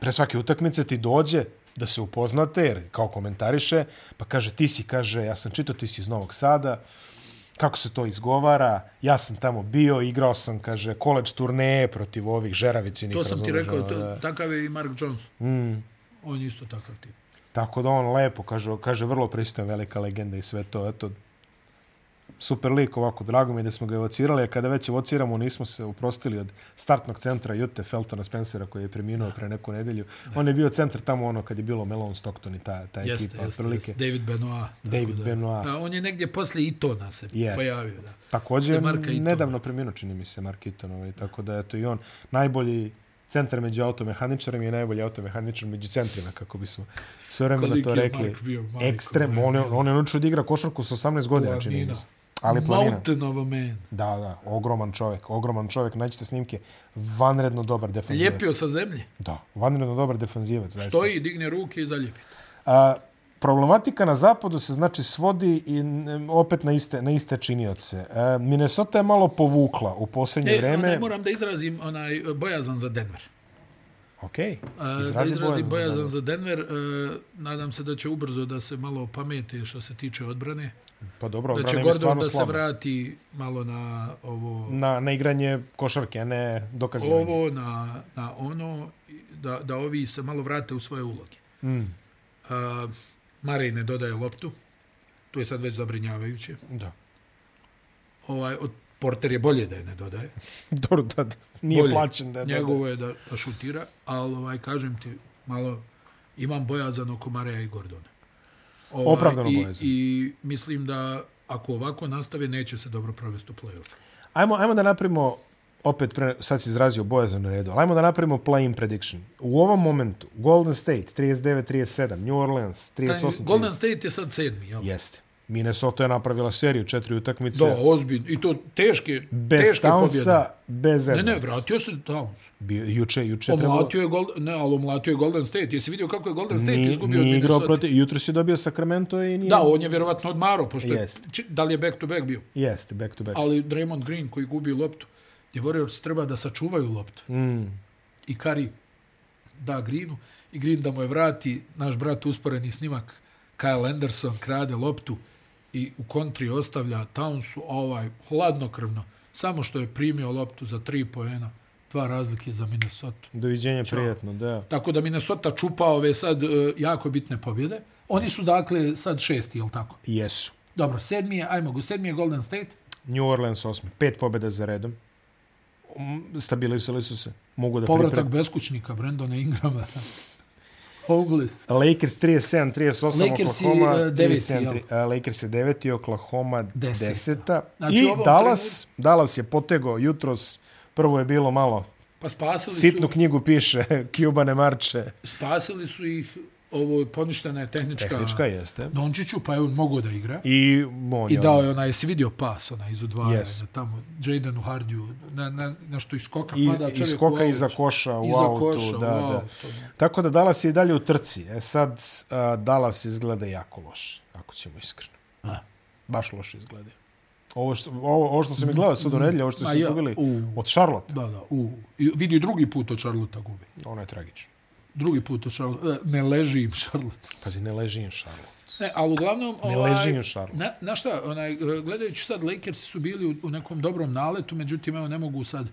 pre svake utakmice ti dođe da se upoznate, jer kao komentariše, pa kaže ti si, kaže, ja sam čitao, ti si iz Novog Sada, kako se to izgovara, ja sam tamo bio, igrao sam, kaže, koleđ turneje protiv ovih žeravićinih.
To sam ti
razumeš,
rekao,
ono, da.
to, takav je i Mark Jones.
Mm.
On je isto takav tip.
Tako da on lepo, kaže, kaže vrlo pristojan, velika legenda i sve to, eto. Super lik ovako, drago mi je da smo ga evocirali, a kada već evociramo, nismo se uprostili od startnog centra Jute Feltona Spencera koji je preminuo pre neku nedelju. On je bio centar tamo ono kad je bilo Melon Stockton i ta, ta
Jeste,
ekipa,
jeste,
otprilike.
jeste. David Benoit. tako
David
da.
Benoit.
Da, on je negdje poslije i to na se
Jeste.
pojavio. Da.
Također,
Posle Marka Itona.
nedavno preminuo, čini mi se, Mark Iton, ovaj, tako da, eto, i on najbolji centar među automehaničarima i najbolji automehaničar među centrima, kako bismo sve vremena
Koliki
to
je
rekli.
Mark bio, majko
Ekstrem,
moja.
on je, on je naučio da igra košarku sa 18 godina, čini mi
Planina.
se. Ali planina.
Mountain of a man.
Da, da, ogroman čovjek, ogroman čovjek, naćete snimke, vanredno dobar defanzivac.
Lijepio sa zemlje.
Da, vanredno dobar defanzivac, zaista.
Stoji, digne ruke i zaljepi.
A, problematika na zapadu se znači svodi i n- opet na iste, na iste činioce. E, Minnesota je malo povukla u posljednje
E,
vreme.
onaj, moram da izrazim onaj e, bojazan za Denver.
Ok,
E, da
izrazi
izrazim bojazan
bojazan. za-
za Denver. E, nadam se da će ubrzo da se malo opamete što se tiče odbrane.
Pa dobro,
Da će
odbrana im je
Gordon
stvarno
da se
slaba.
vrati malo na ovo
Na, na igranje košarke, a ne dokazivanje.
ovo, na, na ono, i da, da ovi se malo vrate u svoje uloge. Mm. A, Marej ne dodaje loptu, to je sad već zabrinjavajuće.
Da.
Ovaj, od Porter je bolje da je ne dodaje.
Dobro, da, da. Nije
Bolje.
plaćen da je to.
Njegovo je da, da šutira, ali ovaj, kažem ti, malo imam bojazan oko Mareja i Gordona. Ovaj,
Opravdano
i,
bojazan.
I mislim da ako ovako nastave, neće se dobro provesti u play-off.
Ajmo, ajmo da napravimo, opet, pre, sad si izrazio bojazan na redu, ali ajmo da napravimo play-in prediction. U ovom momentu, Golden State 39-37, New Orleans 38
Golden State je sad sedmi, jel?
Jeste. Minnesota je napravila seriju četiri utakmice.
Do, ozbiljno. I to teške,
bez
teške pobjede.
Townsa, bez
Ne,
Edwards.
ne, vratio se Towns.
Bio, juče, juče trebalo...
Omlatio je, Gold, ne, ali omlatio je Golden State. Jesi vidio kako je Golden State
Nije,
izgubio od
nije igrao
Minnesota?
protiv... Jutro si dobio Sacramento i nije...
Da, on je vjerovatno odmaro, pošto je,
Jeste.
či- da li je back to back bio.
Jeste, back to back.
Ali Draymond Green koji gubi loptu, gdje Warriors treba da sačuvaju loptu.
Mm.
I Kari da Greenu i Green da mu je vrati naš brat usporeni snimak Kyle Anderson krade loptu i u kontri ostavlja Townsu a ovaj hladnokrvno samo što je primio loptu za tri poena dva razlike za Minnesota.
Doviđenja, prijatno, da.
Tako da Minnesota čupa ove sad e, jako bitne pobjede. Oni su dakle sad šesti, jel tako?
Jesu.
Dobro, sedmi je, ajmo go, sedmi je Golden State.
New Orleans osmi. Pet pobjeda za redom. Mm, Stabilizovali su se. Mogu da
Povratak
pripreme.
beskućnika, Brendona Ingrama. Hoglis.
Lakers 37, 38,
Lakersi,
Oklahoma
e, deveti,
37, tri- a, Lakers je deveti, Oklahoma
Deseta.
deseta.
Znači,
I
ovom
Dallas, Dallas je potegao jutros, prvo je bilo malo,
Pa spasili
sitnu
su,
knjigu piše, Cubane marče.
spasili su ih, ovo poništena je tehnička,
Tehnička jeste.
Dončiću, pa je on mogao da igra.
I, on
I
je ono,
dao je onaj, jesi vidio pas, onaj iz udvajanja,
Yes.
tamo, Jadenu Hardiju, na, na, na što iz skoka
iz,
pada čovjek
iz
u
skoka
aut.
iza koša u
Iza
autu.
koša,
da,
u
da.
autu, da.
Tako da Dallas je i dalje u trci. E sad, a, Dallas izgleda jako loše, ako ćemo iskreno.
A.
Baš loše izgleda. Ovo što, ovo, ovo što sam i gledao sad u nedelju, ovo što
Mm. Ma
su
ja,
dobili
u.
od Charlotte,
Da, da, u, i vidi drugi put od Charlotte gubi.
ono je tragično.
Drugi put od Charlotte, e, ne leži im Charlotte.
Pazi, ne leži im Charlotte.
Ne, ali E, uglavnom...
Ne
ovaj,
leži im Charlotte.
Na, na šta, onaj, e, gledajući sad, Lakersi su bili u, u nekom dobrom naletu, međutim, evo, ne mogu sad...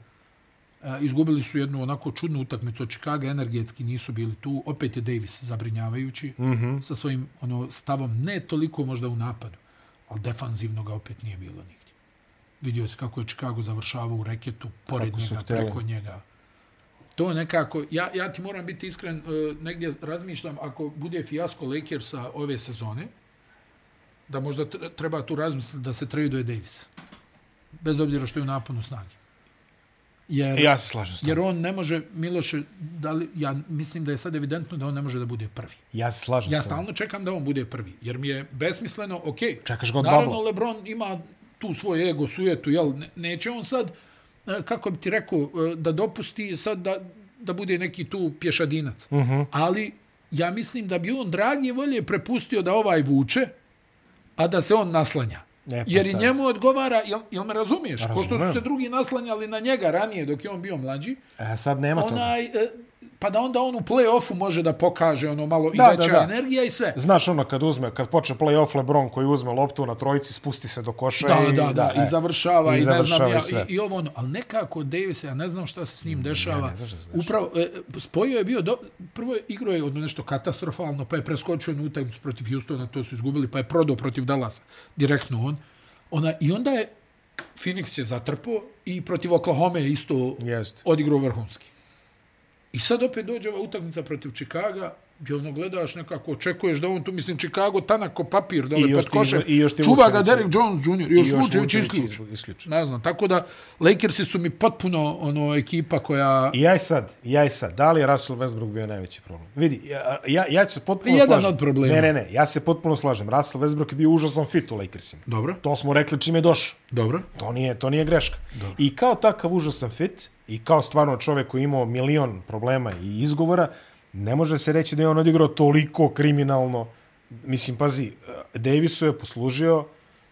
e, Izgubili su jednu onako čudnu utakmicu od Čikaga, energetski nisu bili tu. Opet je Davis zabrinjavajući mm
Mhm.
-hmm. sa svojim ono stavom, ne toliko možda u napadu, ali defanzivno ga opet nije bilo nigdje. Vidio se kako je Čikago završavao u reketu, pored
Kako su
njega,
hteli.
preko njega. To nekako, ja, ja ti moram biti iskren, e, negdje razmišljam, ako bude fijasko Lakersa ove sezone, da možda tr- treba tu razmisliti da se traduje Davis. Bez obzira što je u naponu snage. Jer,
E, Ja se slažem s tobom.
jer on ne može, Miloše, da li, ja mislim da je sad evidentno da on ne može da bude prvi.
Ja se slažem
Ja
s tobom.
stalno čekam da on bude prvi, jer mi je besmisleno, ok,
Čekaš ga od
naravno
Babla.
Lebron ima tu svoj ego, sujetu, jel, ne, neće on sad, e, kako bi ti rekao, e, da dopusti sad da, da bude neki tu pješadinac. Uh
Mhm.
-huh. Ali ja mislim da bi on dragi volje prepustio da ovaj vuče, a da se on naslanja.
E, pa
Jer i
sad.
njemu odgovara, jel, jel me razumiješ? Pošto
Razumem.
su se drugi naslanjali na njega ranije dok je on bio mlađi,
E, sad nema toga.
onaj, e, pa da onda on u play-offu može da pokaže ono malo
Da,
i veća
da, da.
energija i sve.
Znaš ono kad uzme, kad počne play-off LeBron koji uzme loptu na trojici, spusti se do koša
Da,
i...
da, da,
e.
i završava i, ne znam
završava i
ja,
sve.
i, i ovo ono, ali nekako Davis, ja ne znam šta se s njim dešava.
ne znam šta se dešava.
Upravo, e, spojio je bio, do, prvo je igro je ono nešto katastrofalno, pa je preskočio na utakmicu protiv Houstona, to su izgubili, pa je prodao protiv Dallasa, direktno on. Ona, I onda je, Phoenix je zatrpao i protiv Oklahoma je isto
Jeste.
odigrao vrhunski. I sad opet dođe ova utakmica protiv Čikaga, gdje ono gledaš nekako, očekuješ da on tu, mislim, Čikago tanak ko papir, dole
I još
pod
ti
košem,
izvu- i još ti
čuva
Vučević-
ga Derek Jones Jr., još, još Vučević
Vučević
isključi.
isključi.
Ne znam, tako da Lakersi su mi potpuno ono ekipa koja...
I ja i sad, i ja i sad. Da li je Russell Westbrook bio najveći problem? Vidi, ja, ja, ja ću se potpuno
Jedan
slažem.
od problema.
Ne, ne, ne, ja se potpuno slažem. Russell Westbrook je bio užasan fit u Lakersima.
Dobro,
To smo rekli čim je došao.
dobro.
To nije, to nije greška. I kao takav užasan fit, i kao stvarno čovjek koji je imao milion problema i izgovora, ne može se reći da je on odigrao toliko kriminalno. Mislim, pazi, eh, Davisu je poslužio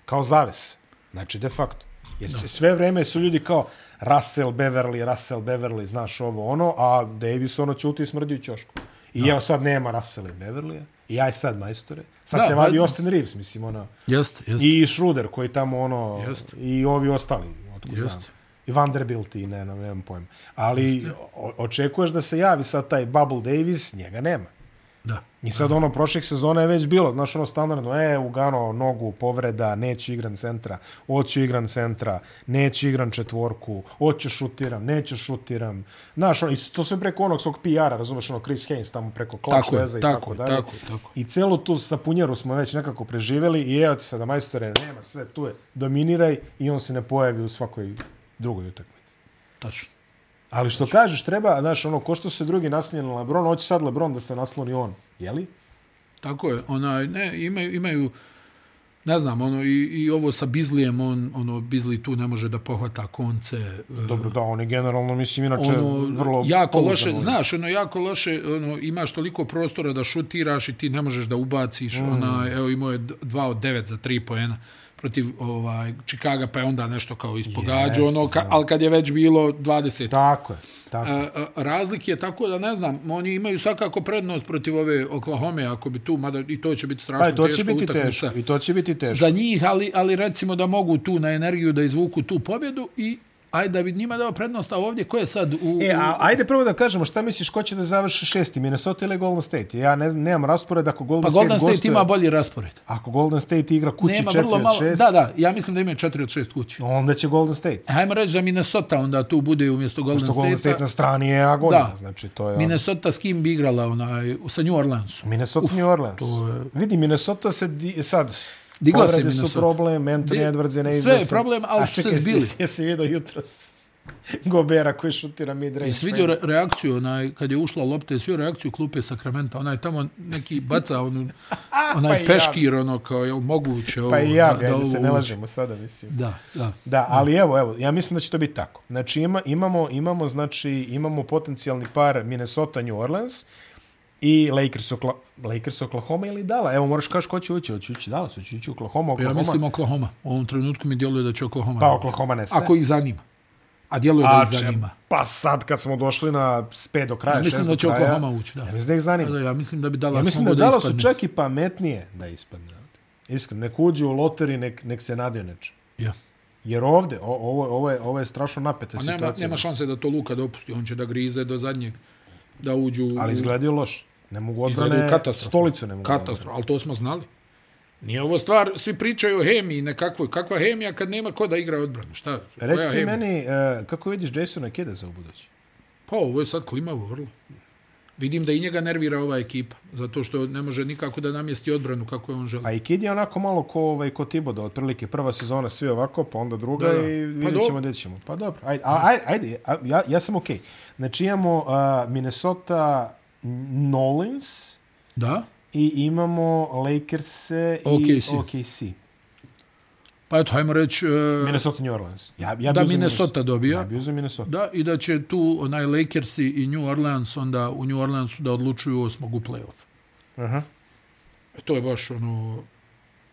kao zaves. Znači, de facto. Jer se sve vreme su ljudi kao Russell Beverly, Russell Beverly, znaš ovo ono, a Davis ono ćuti i smrdi u ćošku. I evo sad nema Russella i Beverlya, i ja je sad majstore. Sad
Da,
te
pa-
vadi Austin Reeves, mislim, ono. ona...
Jeste, jeste.
I Schruder koji tamo ono
Jeste.
i ovi ostali, otkud
Jeste.
znam. I Vanderbilt i ne, ne, nemam pojma. Ali o, očekuješ da se javi sad taj Bubble Davis, njega nema.
Da.
I sad ono, prošlih sezona je već bilo, znaš ono standardno, e, ugano nogu, povreda, neće igran centra, oće igran centra, neće igran četvorku, oće šutiram, neće šutiram. Znaš, ono, i to sve preko onog svog PR-a, razumeš, ono, Chris Haynes tamo preko klač
Tako je,
veza i
tako
tako,
je,
dalje.
tako je, tako
I celu tu sapunjeru smo već nekako preživjeli i evo ti sada majstore, nema sve, tu je, dominiraj i on se ne pojavi u svakoj drugoj utakmici.
Tačno.
Ali
Znači-
što kažeš, treba, znaš, ono, ko što se drugi naslonje na Lebron, hoće sad Lebron da se nasloni on, jeli?
Tako je, onaj, ne, imaju, imaju ne znam, ono, i, i ovo sa Bizlijem, on, ono, Bizli tu ne može da pohvata konce, e,
Dobro, da, on je generalno, mislim, inače
ono
vrlo...
jako
pouzdan
loše,
ovdje.
znaš, ono jako loše, ono imaš toliko prostora da šutiraš i ti ne možeš da ubaciš. Mm. Ona evo imao je d- dva od devet za tri poena protiv ovaj Čikaga, pa je onda nešto kao ispogađao,
Jeste,
ono ka,
znam.
al kad je već bilo 20.
Tako je, tako je.
E, e, razlike, tako da ne znam, oni imaju svakako prednost protiv ove Oklahoma, ako bi tu, mada i to će biti strašno
Pa i to će
teška
biti
utakmica
teško, i to će biti teško.
za njih, ali, ali recimo da mogu tu na energiju da izvuku tu pobjedu i ajde da bi njima dao prednost, a ovdje ko je sad u...
E, a, ajde prvo da kažemo, šta misliš, ko će da završi šesti, Minnesota ili Golden State? Ja ne znam, nemam raspored ako Golden
pa
State
Golden State
gostuje.
ima bolji raspored.
Ako Golden State igra kući
Nema
4
vrlo
od
malo...
6,
Da, da, ja mislim da imaju 4 od 6 kući.
onda će Golden State.
Hajmo reći da Minnesota onda tu bude umjesto Golden
Što Golden State
State-a.
na strani je agonija,
Da.
znači to je... ono.
Minnesota s kim bi igrala onaj, sa New Orleansom.
Minnesota Uf, New Orleans. Je... Vidi, Minnesota se di, sad...
Digla se
povrede su
Minnesota.
problem, Anthony
Di-
Edwards je neizvesan.
sve je problem, ali
A
su se
čekaj, jesi-
zbili.
Jesi, jesi vidio jutro Gobera koji šutira mid-range.
Jesi vidio re reakciju, onaj, kad je ušla lopta, jesi vidio reakciju klupe Sakramenta, onaj tamo neki baca onu, onaj
Pa i ja.
peškir, ono, kao, jel moguće ovo,
Pa i ja,
da,
da,
da
ajde
ovo
se ne
uđe?
lažemo sada, mislim.
Da, da.
Da, ali evo, evo, ja mislim da će to biti tako. Znači ima, imamo, imamo, znači, imamo potencijalni par Minnesota, New Orleans i Lakers, Okla, Lakers Oklahoma ili Dallas. Evo, moraš kaš ko će ući, hoće ući Dallas, hoće ući Oklahoma,
Ja
Oklahoma.
mislim Oklahoma. U ovom trenutku mi djeluje da će Oklahoma.
pa Oklahoma nestaje.
Ako ih zanima. A djeluje da
A,
ih
če-
zanima.
Pa sad kad smo došli na s pet do kraja,
Ja mislim
šest
da
do
će
kraja,
Oklahoma ući, da.
Ja mislim da ih zanima.
Da, ja mislim da bi
ja
Dallas
mislim da
mogao
Dallas su
ispadne.
čak i pametnije da ispadne. Iskreno, nek uđu u loteri, nek, nek se nadaju nečem.
Ja.
Jer ovde, o, ovo, ovo, je, ovo je strašno napeta
A
situacija.
Pa nema, nema šanse da to Luka dopusti. On će da grize do zadnjeg. Da uđu u
Ali izgledaju loše. Ne mogu
Izgledaju
odbrane,
katastrofalno.
stolicu ne mogu.
katastrof. Ali to smo znali. Nije ovo stvar, svi pričaju o hemiji nekakvoj. Kakva hemija kad nema ko da igra odbranu? Šta?
odbrane. Reci
Koja
ti
hemija?
meni, e, kako vidiš Jasona Kida za budući?
Pa ovo je sad klimavo vrlo. Vidim da i njega nervira ova ekipa, zato što ne može nikako da namjesti odbranu kako je on želi.
Pa i Kid je onako malo ko, ovaj, ko Tiboda, otprilike prva sezona svi ovako, pa onda druga
Da,
da,
da.
i
Pa
vidjet
dobro.
ćemo gdje ćemo. Pa dobro, ajde, a, ajde, ajde a, ja, ja sam okej. Okay. Znači imamo a, Minnesota Nolins
Da?
i imamo Lakers i
OKC.
OKC.
Pa eto, hajmo reći... e,
Minnesota New Orleans. Ja, ja
da
bi uzeo
Minnesota
Minnesota.
dobija,
Ja bi uzeo Minnesota.
da, i da će tu onaj Lakersi i New Orleans onda u New Orleansu da odlučuju osmog u play-off.
Aha.
E, To je baš ono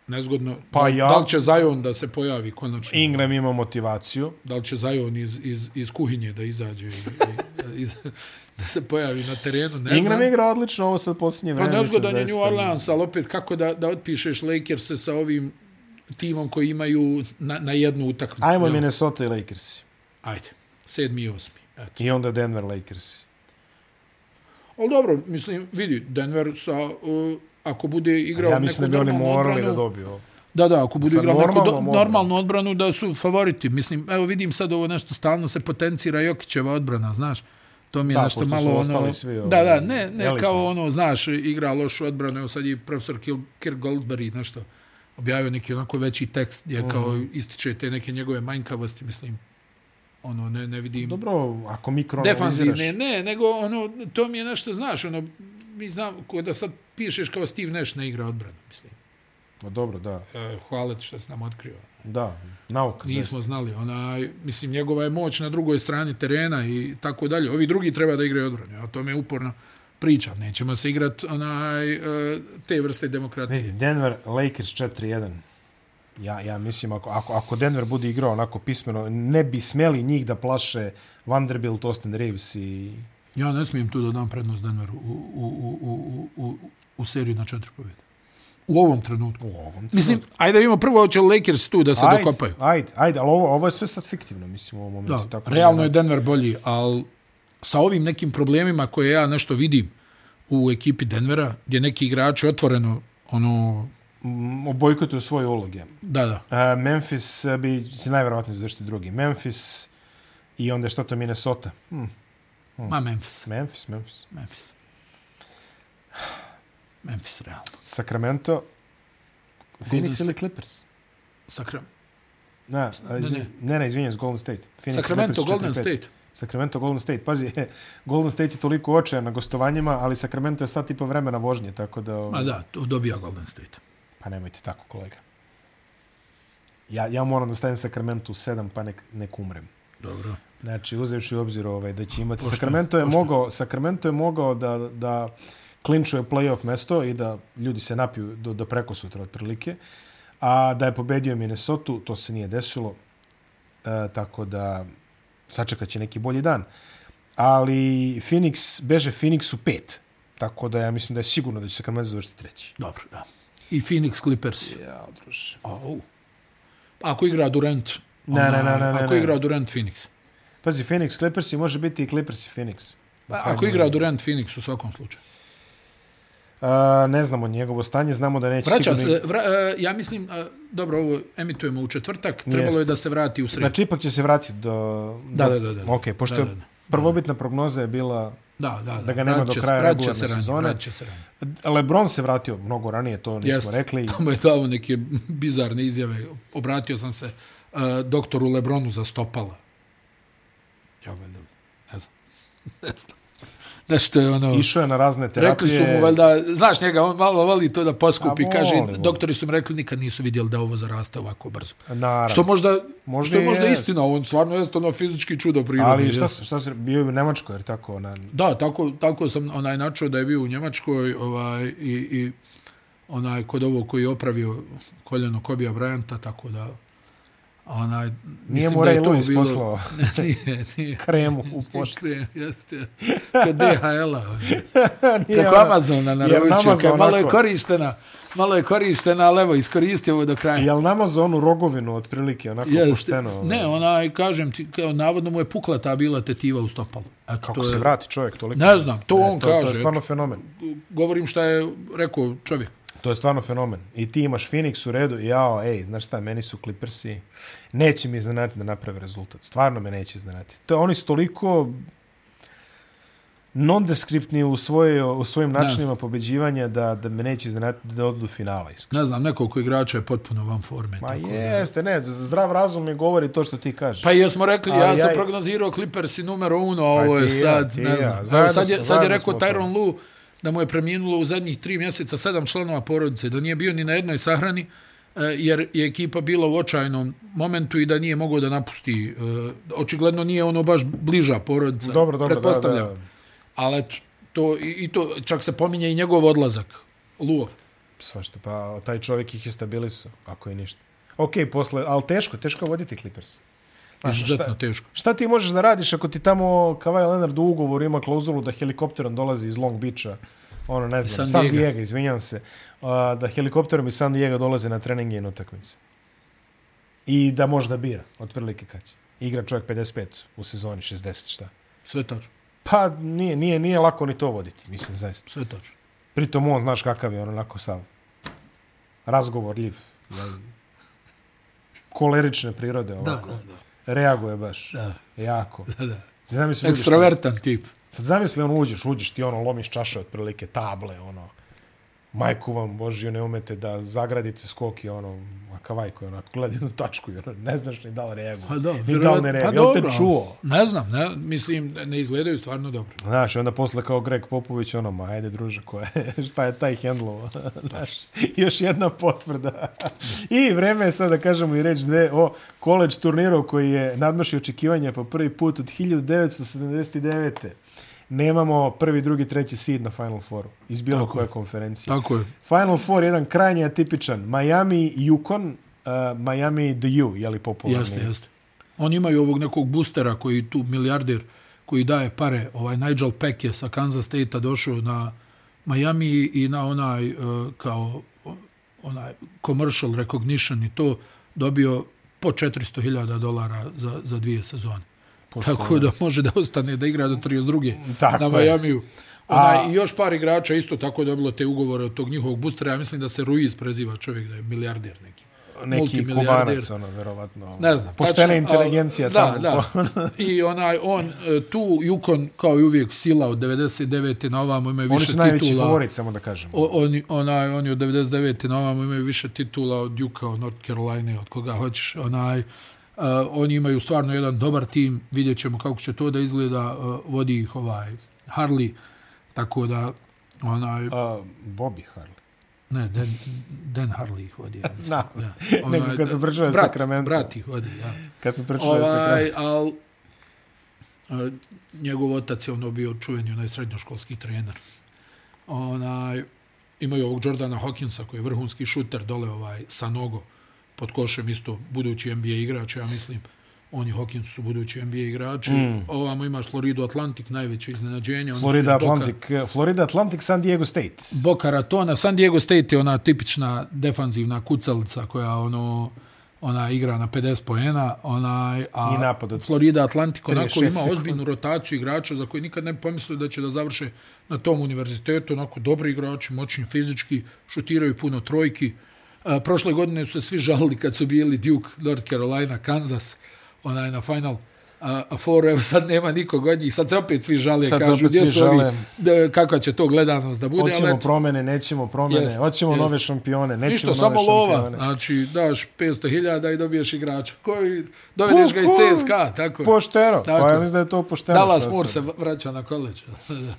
nezgodno.
Pa
da,
ja-
da li će Zion da se pojavi konačno?
Ingram ima motivaciju.
Da li će Zion iz, iz, iz kuhinje da izađe i, i, iz, da se pojavi na terenu? Ne
Ingram
znam.
igra odlično ovo sad posljednje
Pa
vreme.
nezgodan
mislim,
je New
zaista.
Orleans, ali opet kako da, da otpišeš Lakers sa ovim timom koji imaju na, na jednu utakmicu.
Ajmo
jel?
Minnesota i Lakers.
Ajde, sedmi i osmi. Eto.
I onda Denver Lakers.
Ali dobro, mislim, vidi, Denver sa, uh, ako bude igrao
Ja mislim da bi oni
neku normalnu
morali
odbranu,
da dobiju ovo.
Da, da, ako budu
Sa
igrali neku
normalnom
do,
odbranom.
normalnu odbranu, da su favoriti. Mislim, evo vidim sad ovo nešto, stalno se potencira Jokićeva odbrana, znaš. To mi je
Da,
nešto
pošto su
malo
ostali
ono...
svi, ono,
da, da, ne, ne
elitni.
kao ono, znaš, igra lošu odbranu, evo sad je profesor Kil, Kirk Goldberry, nešto, objavio neki onako veći tekst
Mhm.
gdje kao ističe te neke njegove manjkavosti, mislim, ono, ne, ne vidim
Dobro, ako mikroanaliziraš...
defanzivne, ne, nego ono, to mi je nešto, znaš, ono, mi znam, ko da sad pišeš kao Steve Nash ne igra odbranu, mislim.
Ma dobro, da.
E, hvala ti što si nam otkrio.
Da, nauka. Pa, zaista.
Nismo znali, onaj, mislim, njegova je moć na drugoj strani terena i tako dalje. Ovi drugi treba da igraju odbranu, a to me uporno pričam. Nećemo se igrat onaj, e, te vrste demokratije.
Vidi, Denver Lakers 4-1. Ja, ja mislim, ako, ako, ako Denver bude igrao onako pismeno, ne bi smeli njih da plaše Vanderbilt, Austin Reeves i...
Ja ne smijem tu da dam prednost Denveru u, u, u, u, u, u seriju na četiri pobjede. U ovom trenutku.
U ovom
Mislim, ajde da vidimo prvo hoće li Lakers tu da se
ajde,
dokopaju.
Ajde, ajde, ali ovo, ovo je sve sad fiktivno, mislim, u ovom momentu.
Da,
tako
realno
da-
je Denver bolji, ali sa ovim nekim problemima koje ja nešto vidim u ekipi Denvera, gdje neki igrači otvoreno, ono,
Mm, Obojkotuju svoje uloge.
da, da,
Uh, Memphis uh, bi se najverovatnije završiti drugi. Memphis i onda šta to Minnesota. Hmm.
ma Memphis,
Memphis, Memphis.
Memphis. Memphis, realno.
Sacramento,
Golden
Phoenix
State.
ili Clippers?
Sakra...
Na, a, izvin, ne, ne, izvinjam, Golden State. Phoenix,
Sacramento,
Clippers,
Golden
4-5.
State.
Sacramento, Golden State. Pazi, Golden State je toliko očajan na gostovanjima, ali Sacramento je sat i po vremena vožnje, tako da...
Ma
ovaj,
da, to dobija Golden State.
Pa nemojte tako, kolega. Ja, ja moram da stavim Sacramento u sedam, pa nek, nek umrem.
Dobro.
Znači, uzevši u obzir ovaj, da će imati... Sacramento je, mogao, Sacramento je mogao da, da klinčuje playoff mesto i da ljudi se napiju do, do preko sutra otprilike. A da je pobedio Minnesota, to se nije desilo. E, tako da sačekat će neki bolji dan. Ali Phoenix, beže Phoenix u pet. Tako da ja mislim da je sigurno da će Sacramento završiti treći.
Dobro, da. I Phoenix Clippers.
Ja, druže.
Au. Ako igra Durant,
Ne, ne, ne, ne, ne,
Ako
ne.
je igrao Durant Phoenix.
Pazi, Phoenix Clippers i može biti i Clippers i Phoenix.
Pa, ako je igrao Durant Phoenix u svakom slučaju.
A, E, ne znamo njegovo stanje, znamo da neće
Vraća
sigurno...
se, vra, e, ja mislim, e, dobro, ovo emitujemo u četvrtak, trebalo
Jeste.
je da se vrati u sredu.
Znači, ipak će se vratiti do...
Da, da, da, da.
Ok, pošto
Da,
je
da, da.
prvobitna prognoza je bila...
Da, da, da.
da ga nema
Vratit
do
će se-
kraja
vratit će
regularne
se ranije,
sezone.
vratit će se ranije.
Lebron se vratio mnogo ranije, to nismo
Jeste.
rekli.
Tamo je dao neke bizarne izjave. Obratio sam se uh, doktoru Lebronu za stopala. Ja valjda, ne znam. Ne znam. Nešto je ono...
Išao je na razne terapije.
Rekli su mu valjda, znaš njega, on malo voli to da poskupi,
A,
kaže,
voli, voli.
doktori su mu rekli nikad nisu vidjeli da ovo zaraste ovako brzo.
Naravno.
Što možda,
Možda
što je možda
jest.
istina, on stvarno jeste ono fizički čudo prirode.
Ali
jeste.
šta, se- šta se, bio je u Nemačkoj, jer tako, na,
Da, tako, tako sam onaj načuo da je bio u Njemačkoj ovaj, i, i onaj kod ovo koji je opravio koljeno Kobija Bryanta, tako da onaj,
nije
mislim
mu
da je
Ray
to
Lewis
bilo...
poslao
nije, nije.
kremu u pošti.
Jeste, jeste. Kod DHL-a. ono.
Nije
Preko
ona-
Amazona
Jer na
naručio. Kad
ono- Amazon
malo je
onako-
korištena, malo je korištena, ali evo, iskoristio ovo do kraja.
Jel nama za onu rogovinu otprilike onako ovaj? yes.
Jeste.
pušteno?
Ne, onaj, kažem ti, kao, navodno mu je pukla ta bila tetiva u stopalu. Eto,
Kako
to
se
je-
vrati čovjek toliko?
Ne znam, to on
to, To je
kaže.
stvarno fenomen.
Govorim šta je rekao čovjek.
To je stvarno fenomen. I ti imaš Phoenix u redu i jao, ej, znaš šta, meni su Clippersi. Neće mi iznenati da naprave rezultat. Stvarno me neće iznenati. To, oni su toliko nondeskriptni u, svoje, u svojim načinima pobeđivanja da, da me neće iznenati da odu do finala. Iskreno.
Ne znam, nekoliko igrača je potpuno van forme.
Ma
tako da-
jeste, ne, zdrav razum mi govori to što ti kažeš.
Pa i jesmo rekli,
Ali
ja,
ja
sam
i-
prognozirao Clippers i numero uno, a ovo je
Pa ti i ja,
sad,
ti i
ne
ja.
znam. Evo,
Zajedno
sad,
smo-
je, sad je
zajedno
rekao
smo to.
Tyron Lu da mu je preminulo u zadnjih tri mjeseca sedam članova porodice, da nije bio ni na jednoj sahrani, e, jer je ekipa bila u očajnom momentu i da nije mogao da napusti. e, Očigledno nije ono baš bliža porodica.
dobro, dobro, da, da,
pretpostavljam.
da.
Ali eto, to, i, i to, čak se pominje i njegov odlazak. Luo.
Svašta, pa taj čovjek ih je stabilisao, ako je ništa. Ok, posle, ali teško, teško je voditi Clippers. Znaš,
Izuzetno
šta,
teško.
šta ti možeš da radiš ako ti tamo Kawhi Leonard u ugovoru ima klauzulu da helikopterom dolazi iz Long Beacha, ono ne znam,
San
San Diego,
Diego.
izvinjam se, a, da helikopterom iz San Diego dolaze na treninge i na utakmice. I da može da bira, otprilike kad će. Igra čovjek 55 u sezoni, 60, šta?
Sve tačno,
Pa nije, nije, nije lako ni to voditi, mislim, zaista.
sve tačno.
Pritom on, znaš kakav je, on onako sav razgovorljiv. jel? Kolerične prirode
Da,
ovako.
da, da.
Reaguje baš.
Da.
Jako.
da, da.
Zamisli, uđeš-
Ekstrovertan tip.
Sad zamisli, ono uđeš, uđeš ti ono, lomiš čaše otprilike, table, ono, majku vam Božiju ne umete da zagradite skok i ono, a kavaj koji onako gleda jednu tačku i ono, ne znaš ni da li reaguje,
Pa da, Pa
ni da li ne reaguje, jel te čuo?
Ne znam, ne, mislim, ne izgledaju stvarno dobro.
Znaš, i onda posle kao Greg Popović, ono, ma ajde druže, ko je, šta je taj hendlovo? Znaš, još jedna potvrda. I vreme je sad da kažemo i reč dve o koleđ turniru koji je nadmašio očekivanja po prvi put od 1979. Nemamo prvi, drugi, treći seed na Final Fouru iz bilo Tako. koje konferencije.
Tako je.
Final Four jedan krajnje atipičan. Miami, Yukon, uh, Miami, The U, je li popularni?
Jeste, jeste. Oni imaju ovog nekog boostera koji tu milijarder koji daje pare. Ovaj Nigel Peck je sa Kansas State-a došao na Miami i na onaj eh, kao o- onaj commercial recognition i to dobio po 400.000 dolara za, za dvije sezone. Tako da može da ostane da igra do 32.
Tako
na
je.
Majamiju. Onaj, I još par igrača isto tako je dobilo te ugovore od tog njihovog boostera. Ja mislim da se Ruiz preziva čovjek da je milijarder neki.
Neki
Multimilijarder.
kubanac, ono, verovatno.
Ne znam.
Poštena
tačno,
inteligencija
al-
tamo.
Da, da. I onaj, on, e, tu Yukon, kao i uvijek, sila od 99. na ovamo imaju
Oni
više
su najveći
titula.
favorit, samo da kažemo.
O, oni, onaj, oni od 99. na ovamo imaju više titula od Duke, od North Carolina, od koga hoćeš. Onaj, uh, oni imaju stvarno jedan dobar tim, vidjet ćemo kako će to da izgleda, uh, vodi ih ovaj Harley, tako da onaj,
A, Bobby Harley.
ne, Dan, Dan Harley ih vodi. Ja mislim,
Znam.
Ja.
Nego kad sam pričao o
Ovaj, brat,
Sacramento.
Brat ih vodi, ja.
Kad sam pričao ovaj... sa
Ovaj, al, a, njegov otac je ono bio čuveni onaj srednjoškolski trener. Onaj, imaju ovog Jordana Hawkinsa koji je vrhunski šuter dole ovaj sa nogo pod košem isto budući NBA igrač, ja mislim. Oni Hawkins su budući NBA igrači. Mm. Ovamo imaš Floridu Atlantic, najveće iznenađenje. Oni su
Florida
Boka-
Atlantic, eh, Florida Atlantic San Diego State.
Boca Ratona, San Diego State je ona tipična defanzivna kucalica koja ono ona igra na 50 poena, onaj, a
I napad od
Florida Atlantic onako
36
ima
sekundi.
ozbiljnu rotaciju igrača za koje nikad ne bi pomislio da će da završe na tom univerzitetu, onako dobri igrači, moćni fizički, šutiraju puno trojki. E, prošle godine su se svi žalili kad su bili Duke, North Carolina, Kansas, onaj na final a, a four, evo sad nema nikog od njih, sad se opet svi žale,
Sad se
kažu,
opet
gdje
svi
su ovi,
žale.
da, kakva će to gledanost da bude, ali
Hoćemo
eto,
promene, nećemo promene,
Jest,
hoćemo
jest.
nove šampione, nećemo
Ništa,
nove
samo
šampione.
lova. Znači, daš 500.000 i dobiješ igrača. Koji, dovedeš ga iz
Puh,
CSKA, tako je.
Pošteno,
Tako
pa
je.
ja mislim da je to pošteno.
Dallas
šta
Moore se
sad.
vraća na koleđ.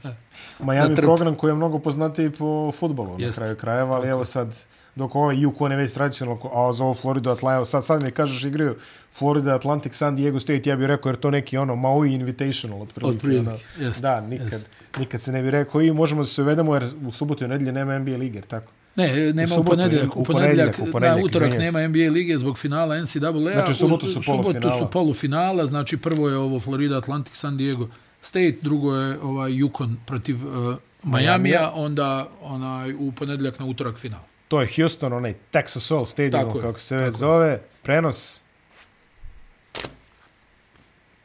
na
Miami
trg.
program koji je mnogo poznatiji po futbolu na
Jest.
kraju krajeva, ali evo sad, dok ovaj UK on je već tradicionalno, ko- a za ovo Floridu Atlantic, sad, sad mi kažeš igraju Florida Atlantic San Diego State, ja bih rekao jer to neki ono Maui Invitational otprilike.
Otprilike,
ono.
jest,
Da, nikad,
jest.
nikad se ne bi rekao i možemo da se uvedemo jer u subotu i u nedelje nema NBA lige, jer tako?
ne, nema u,
subotu,
ponedjeljak.
u
U ponedjeljak,
ponedjeljak, u
na
ponedjeljak,
utorak
izvinjam se.
nema NBA lige zbog finala NCAA.
Znači, u subotu
U-
su
u subotu
polufinala.
su polufinala. Znači, prvo je ovo Florida Atlantic San Diego State, drugo je ovaj Yukon protiv uh, Majamija, onda onaj u ponedjeljak na utorak final.
To je Houston, onaj Texas Oil Stadium,
Tako je,
kako se već zove, prenos,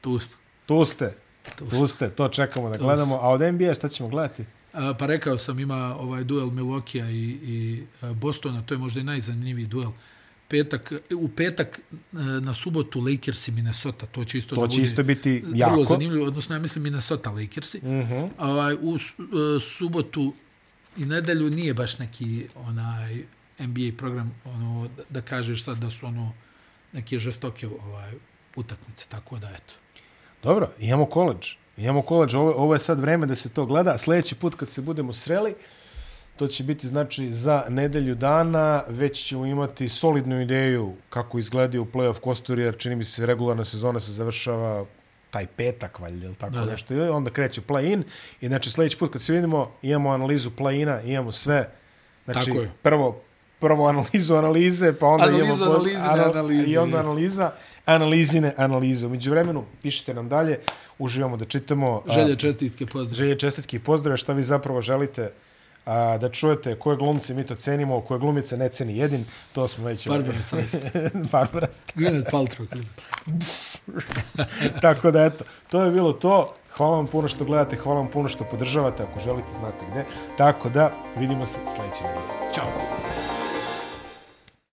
Tu smo.
tu ste, tu ste, to čekamo da gledamo, a od NBA šta ćemo gledati?
A, Pa rekao sam ima ovaj duel Milokija i, i e, Bostona, to je možda i najzanimljiviji duel. Petak, u petak e, na subotu Lakers i Minnesota, to će isto
To
da
će
bude
isto biti
vrlo
jako. Mhm.
zanimljivo, odnosno ja mislim Minnesota Lakersi. Mm -hmm. ovaj, u su- e, subotu i nedelju nije baš neki onaj NBA program ono da- da kažeš sad da su ono neke žestoke ovaj utakmice, tako da eto.
Dobro, imamo koleđ. Imamo koleđ, ovo, ovo je sad vreme da se to gleda. Sljedeći put kad se budemo sreli, to će biti znači za nedelju dana, već ćemo imati solidnu ideju kako izgledaju playoff kosturi, jer čini mi se regularna sezona se završava taj petak, valjda, ili tako da, nešto. I onda kreće play-in i znači sljedeći put kad se vidimo, imamo analizu play-ina, imamo sve. Znači,
Tako je.
prvo, prvo analizu analize, pa onda
Analizu
imamo... pod-
analizine analize,
I onda
jest.
analiza, analizine analize. Umeđu vremenu, pišite nam dalje, uživamo da čitamo. a,
Želje čestitke, pozdrav.
želje čestitke i pozdrave, šta vi zapravo želite a, da čujete koje glumce mi to cenimo, koje glumice ne ceni jedin, to smo već...
Barbara Streisand.
Barbara.
Gwyneth Paltrow. Gwyneth.
Tako da eto, to je bilo to. Hvala vam puno što gledate, hvala vam puno što podržavate, ako želite znate gde. Tako da, vidimo se sledeće nedelje.
Ćao.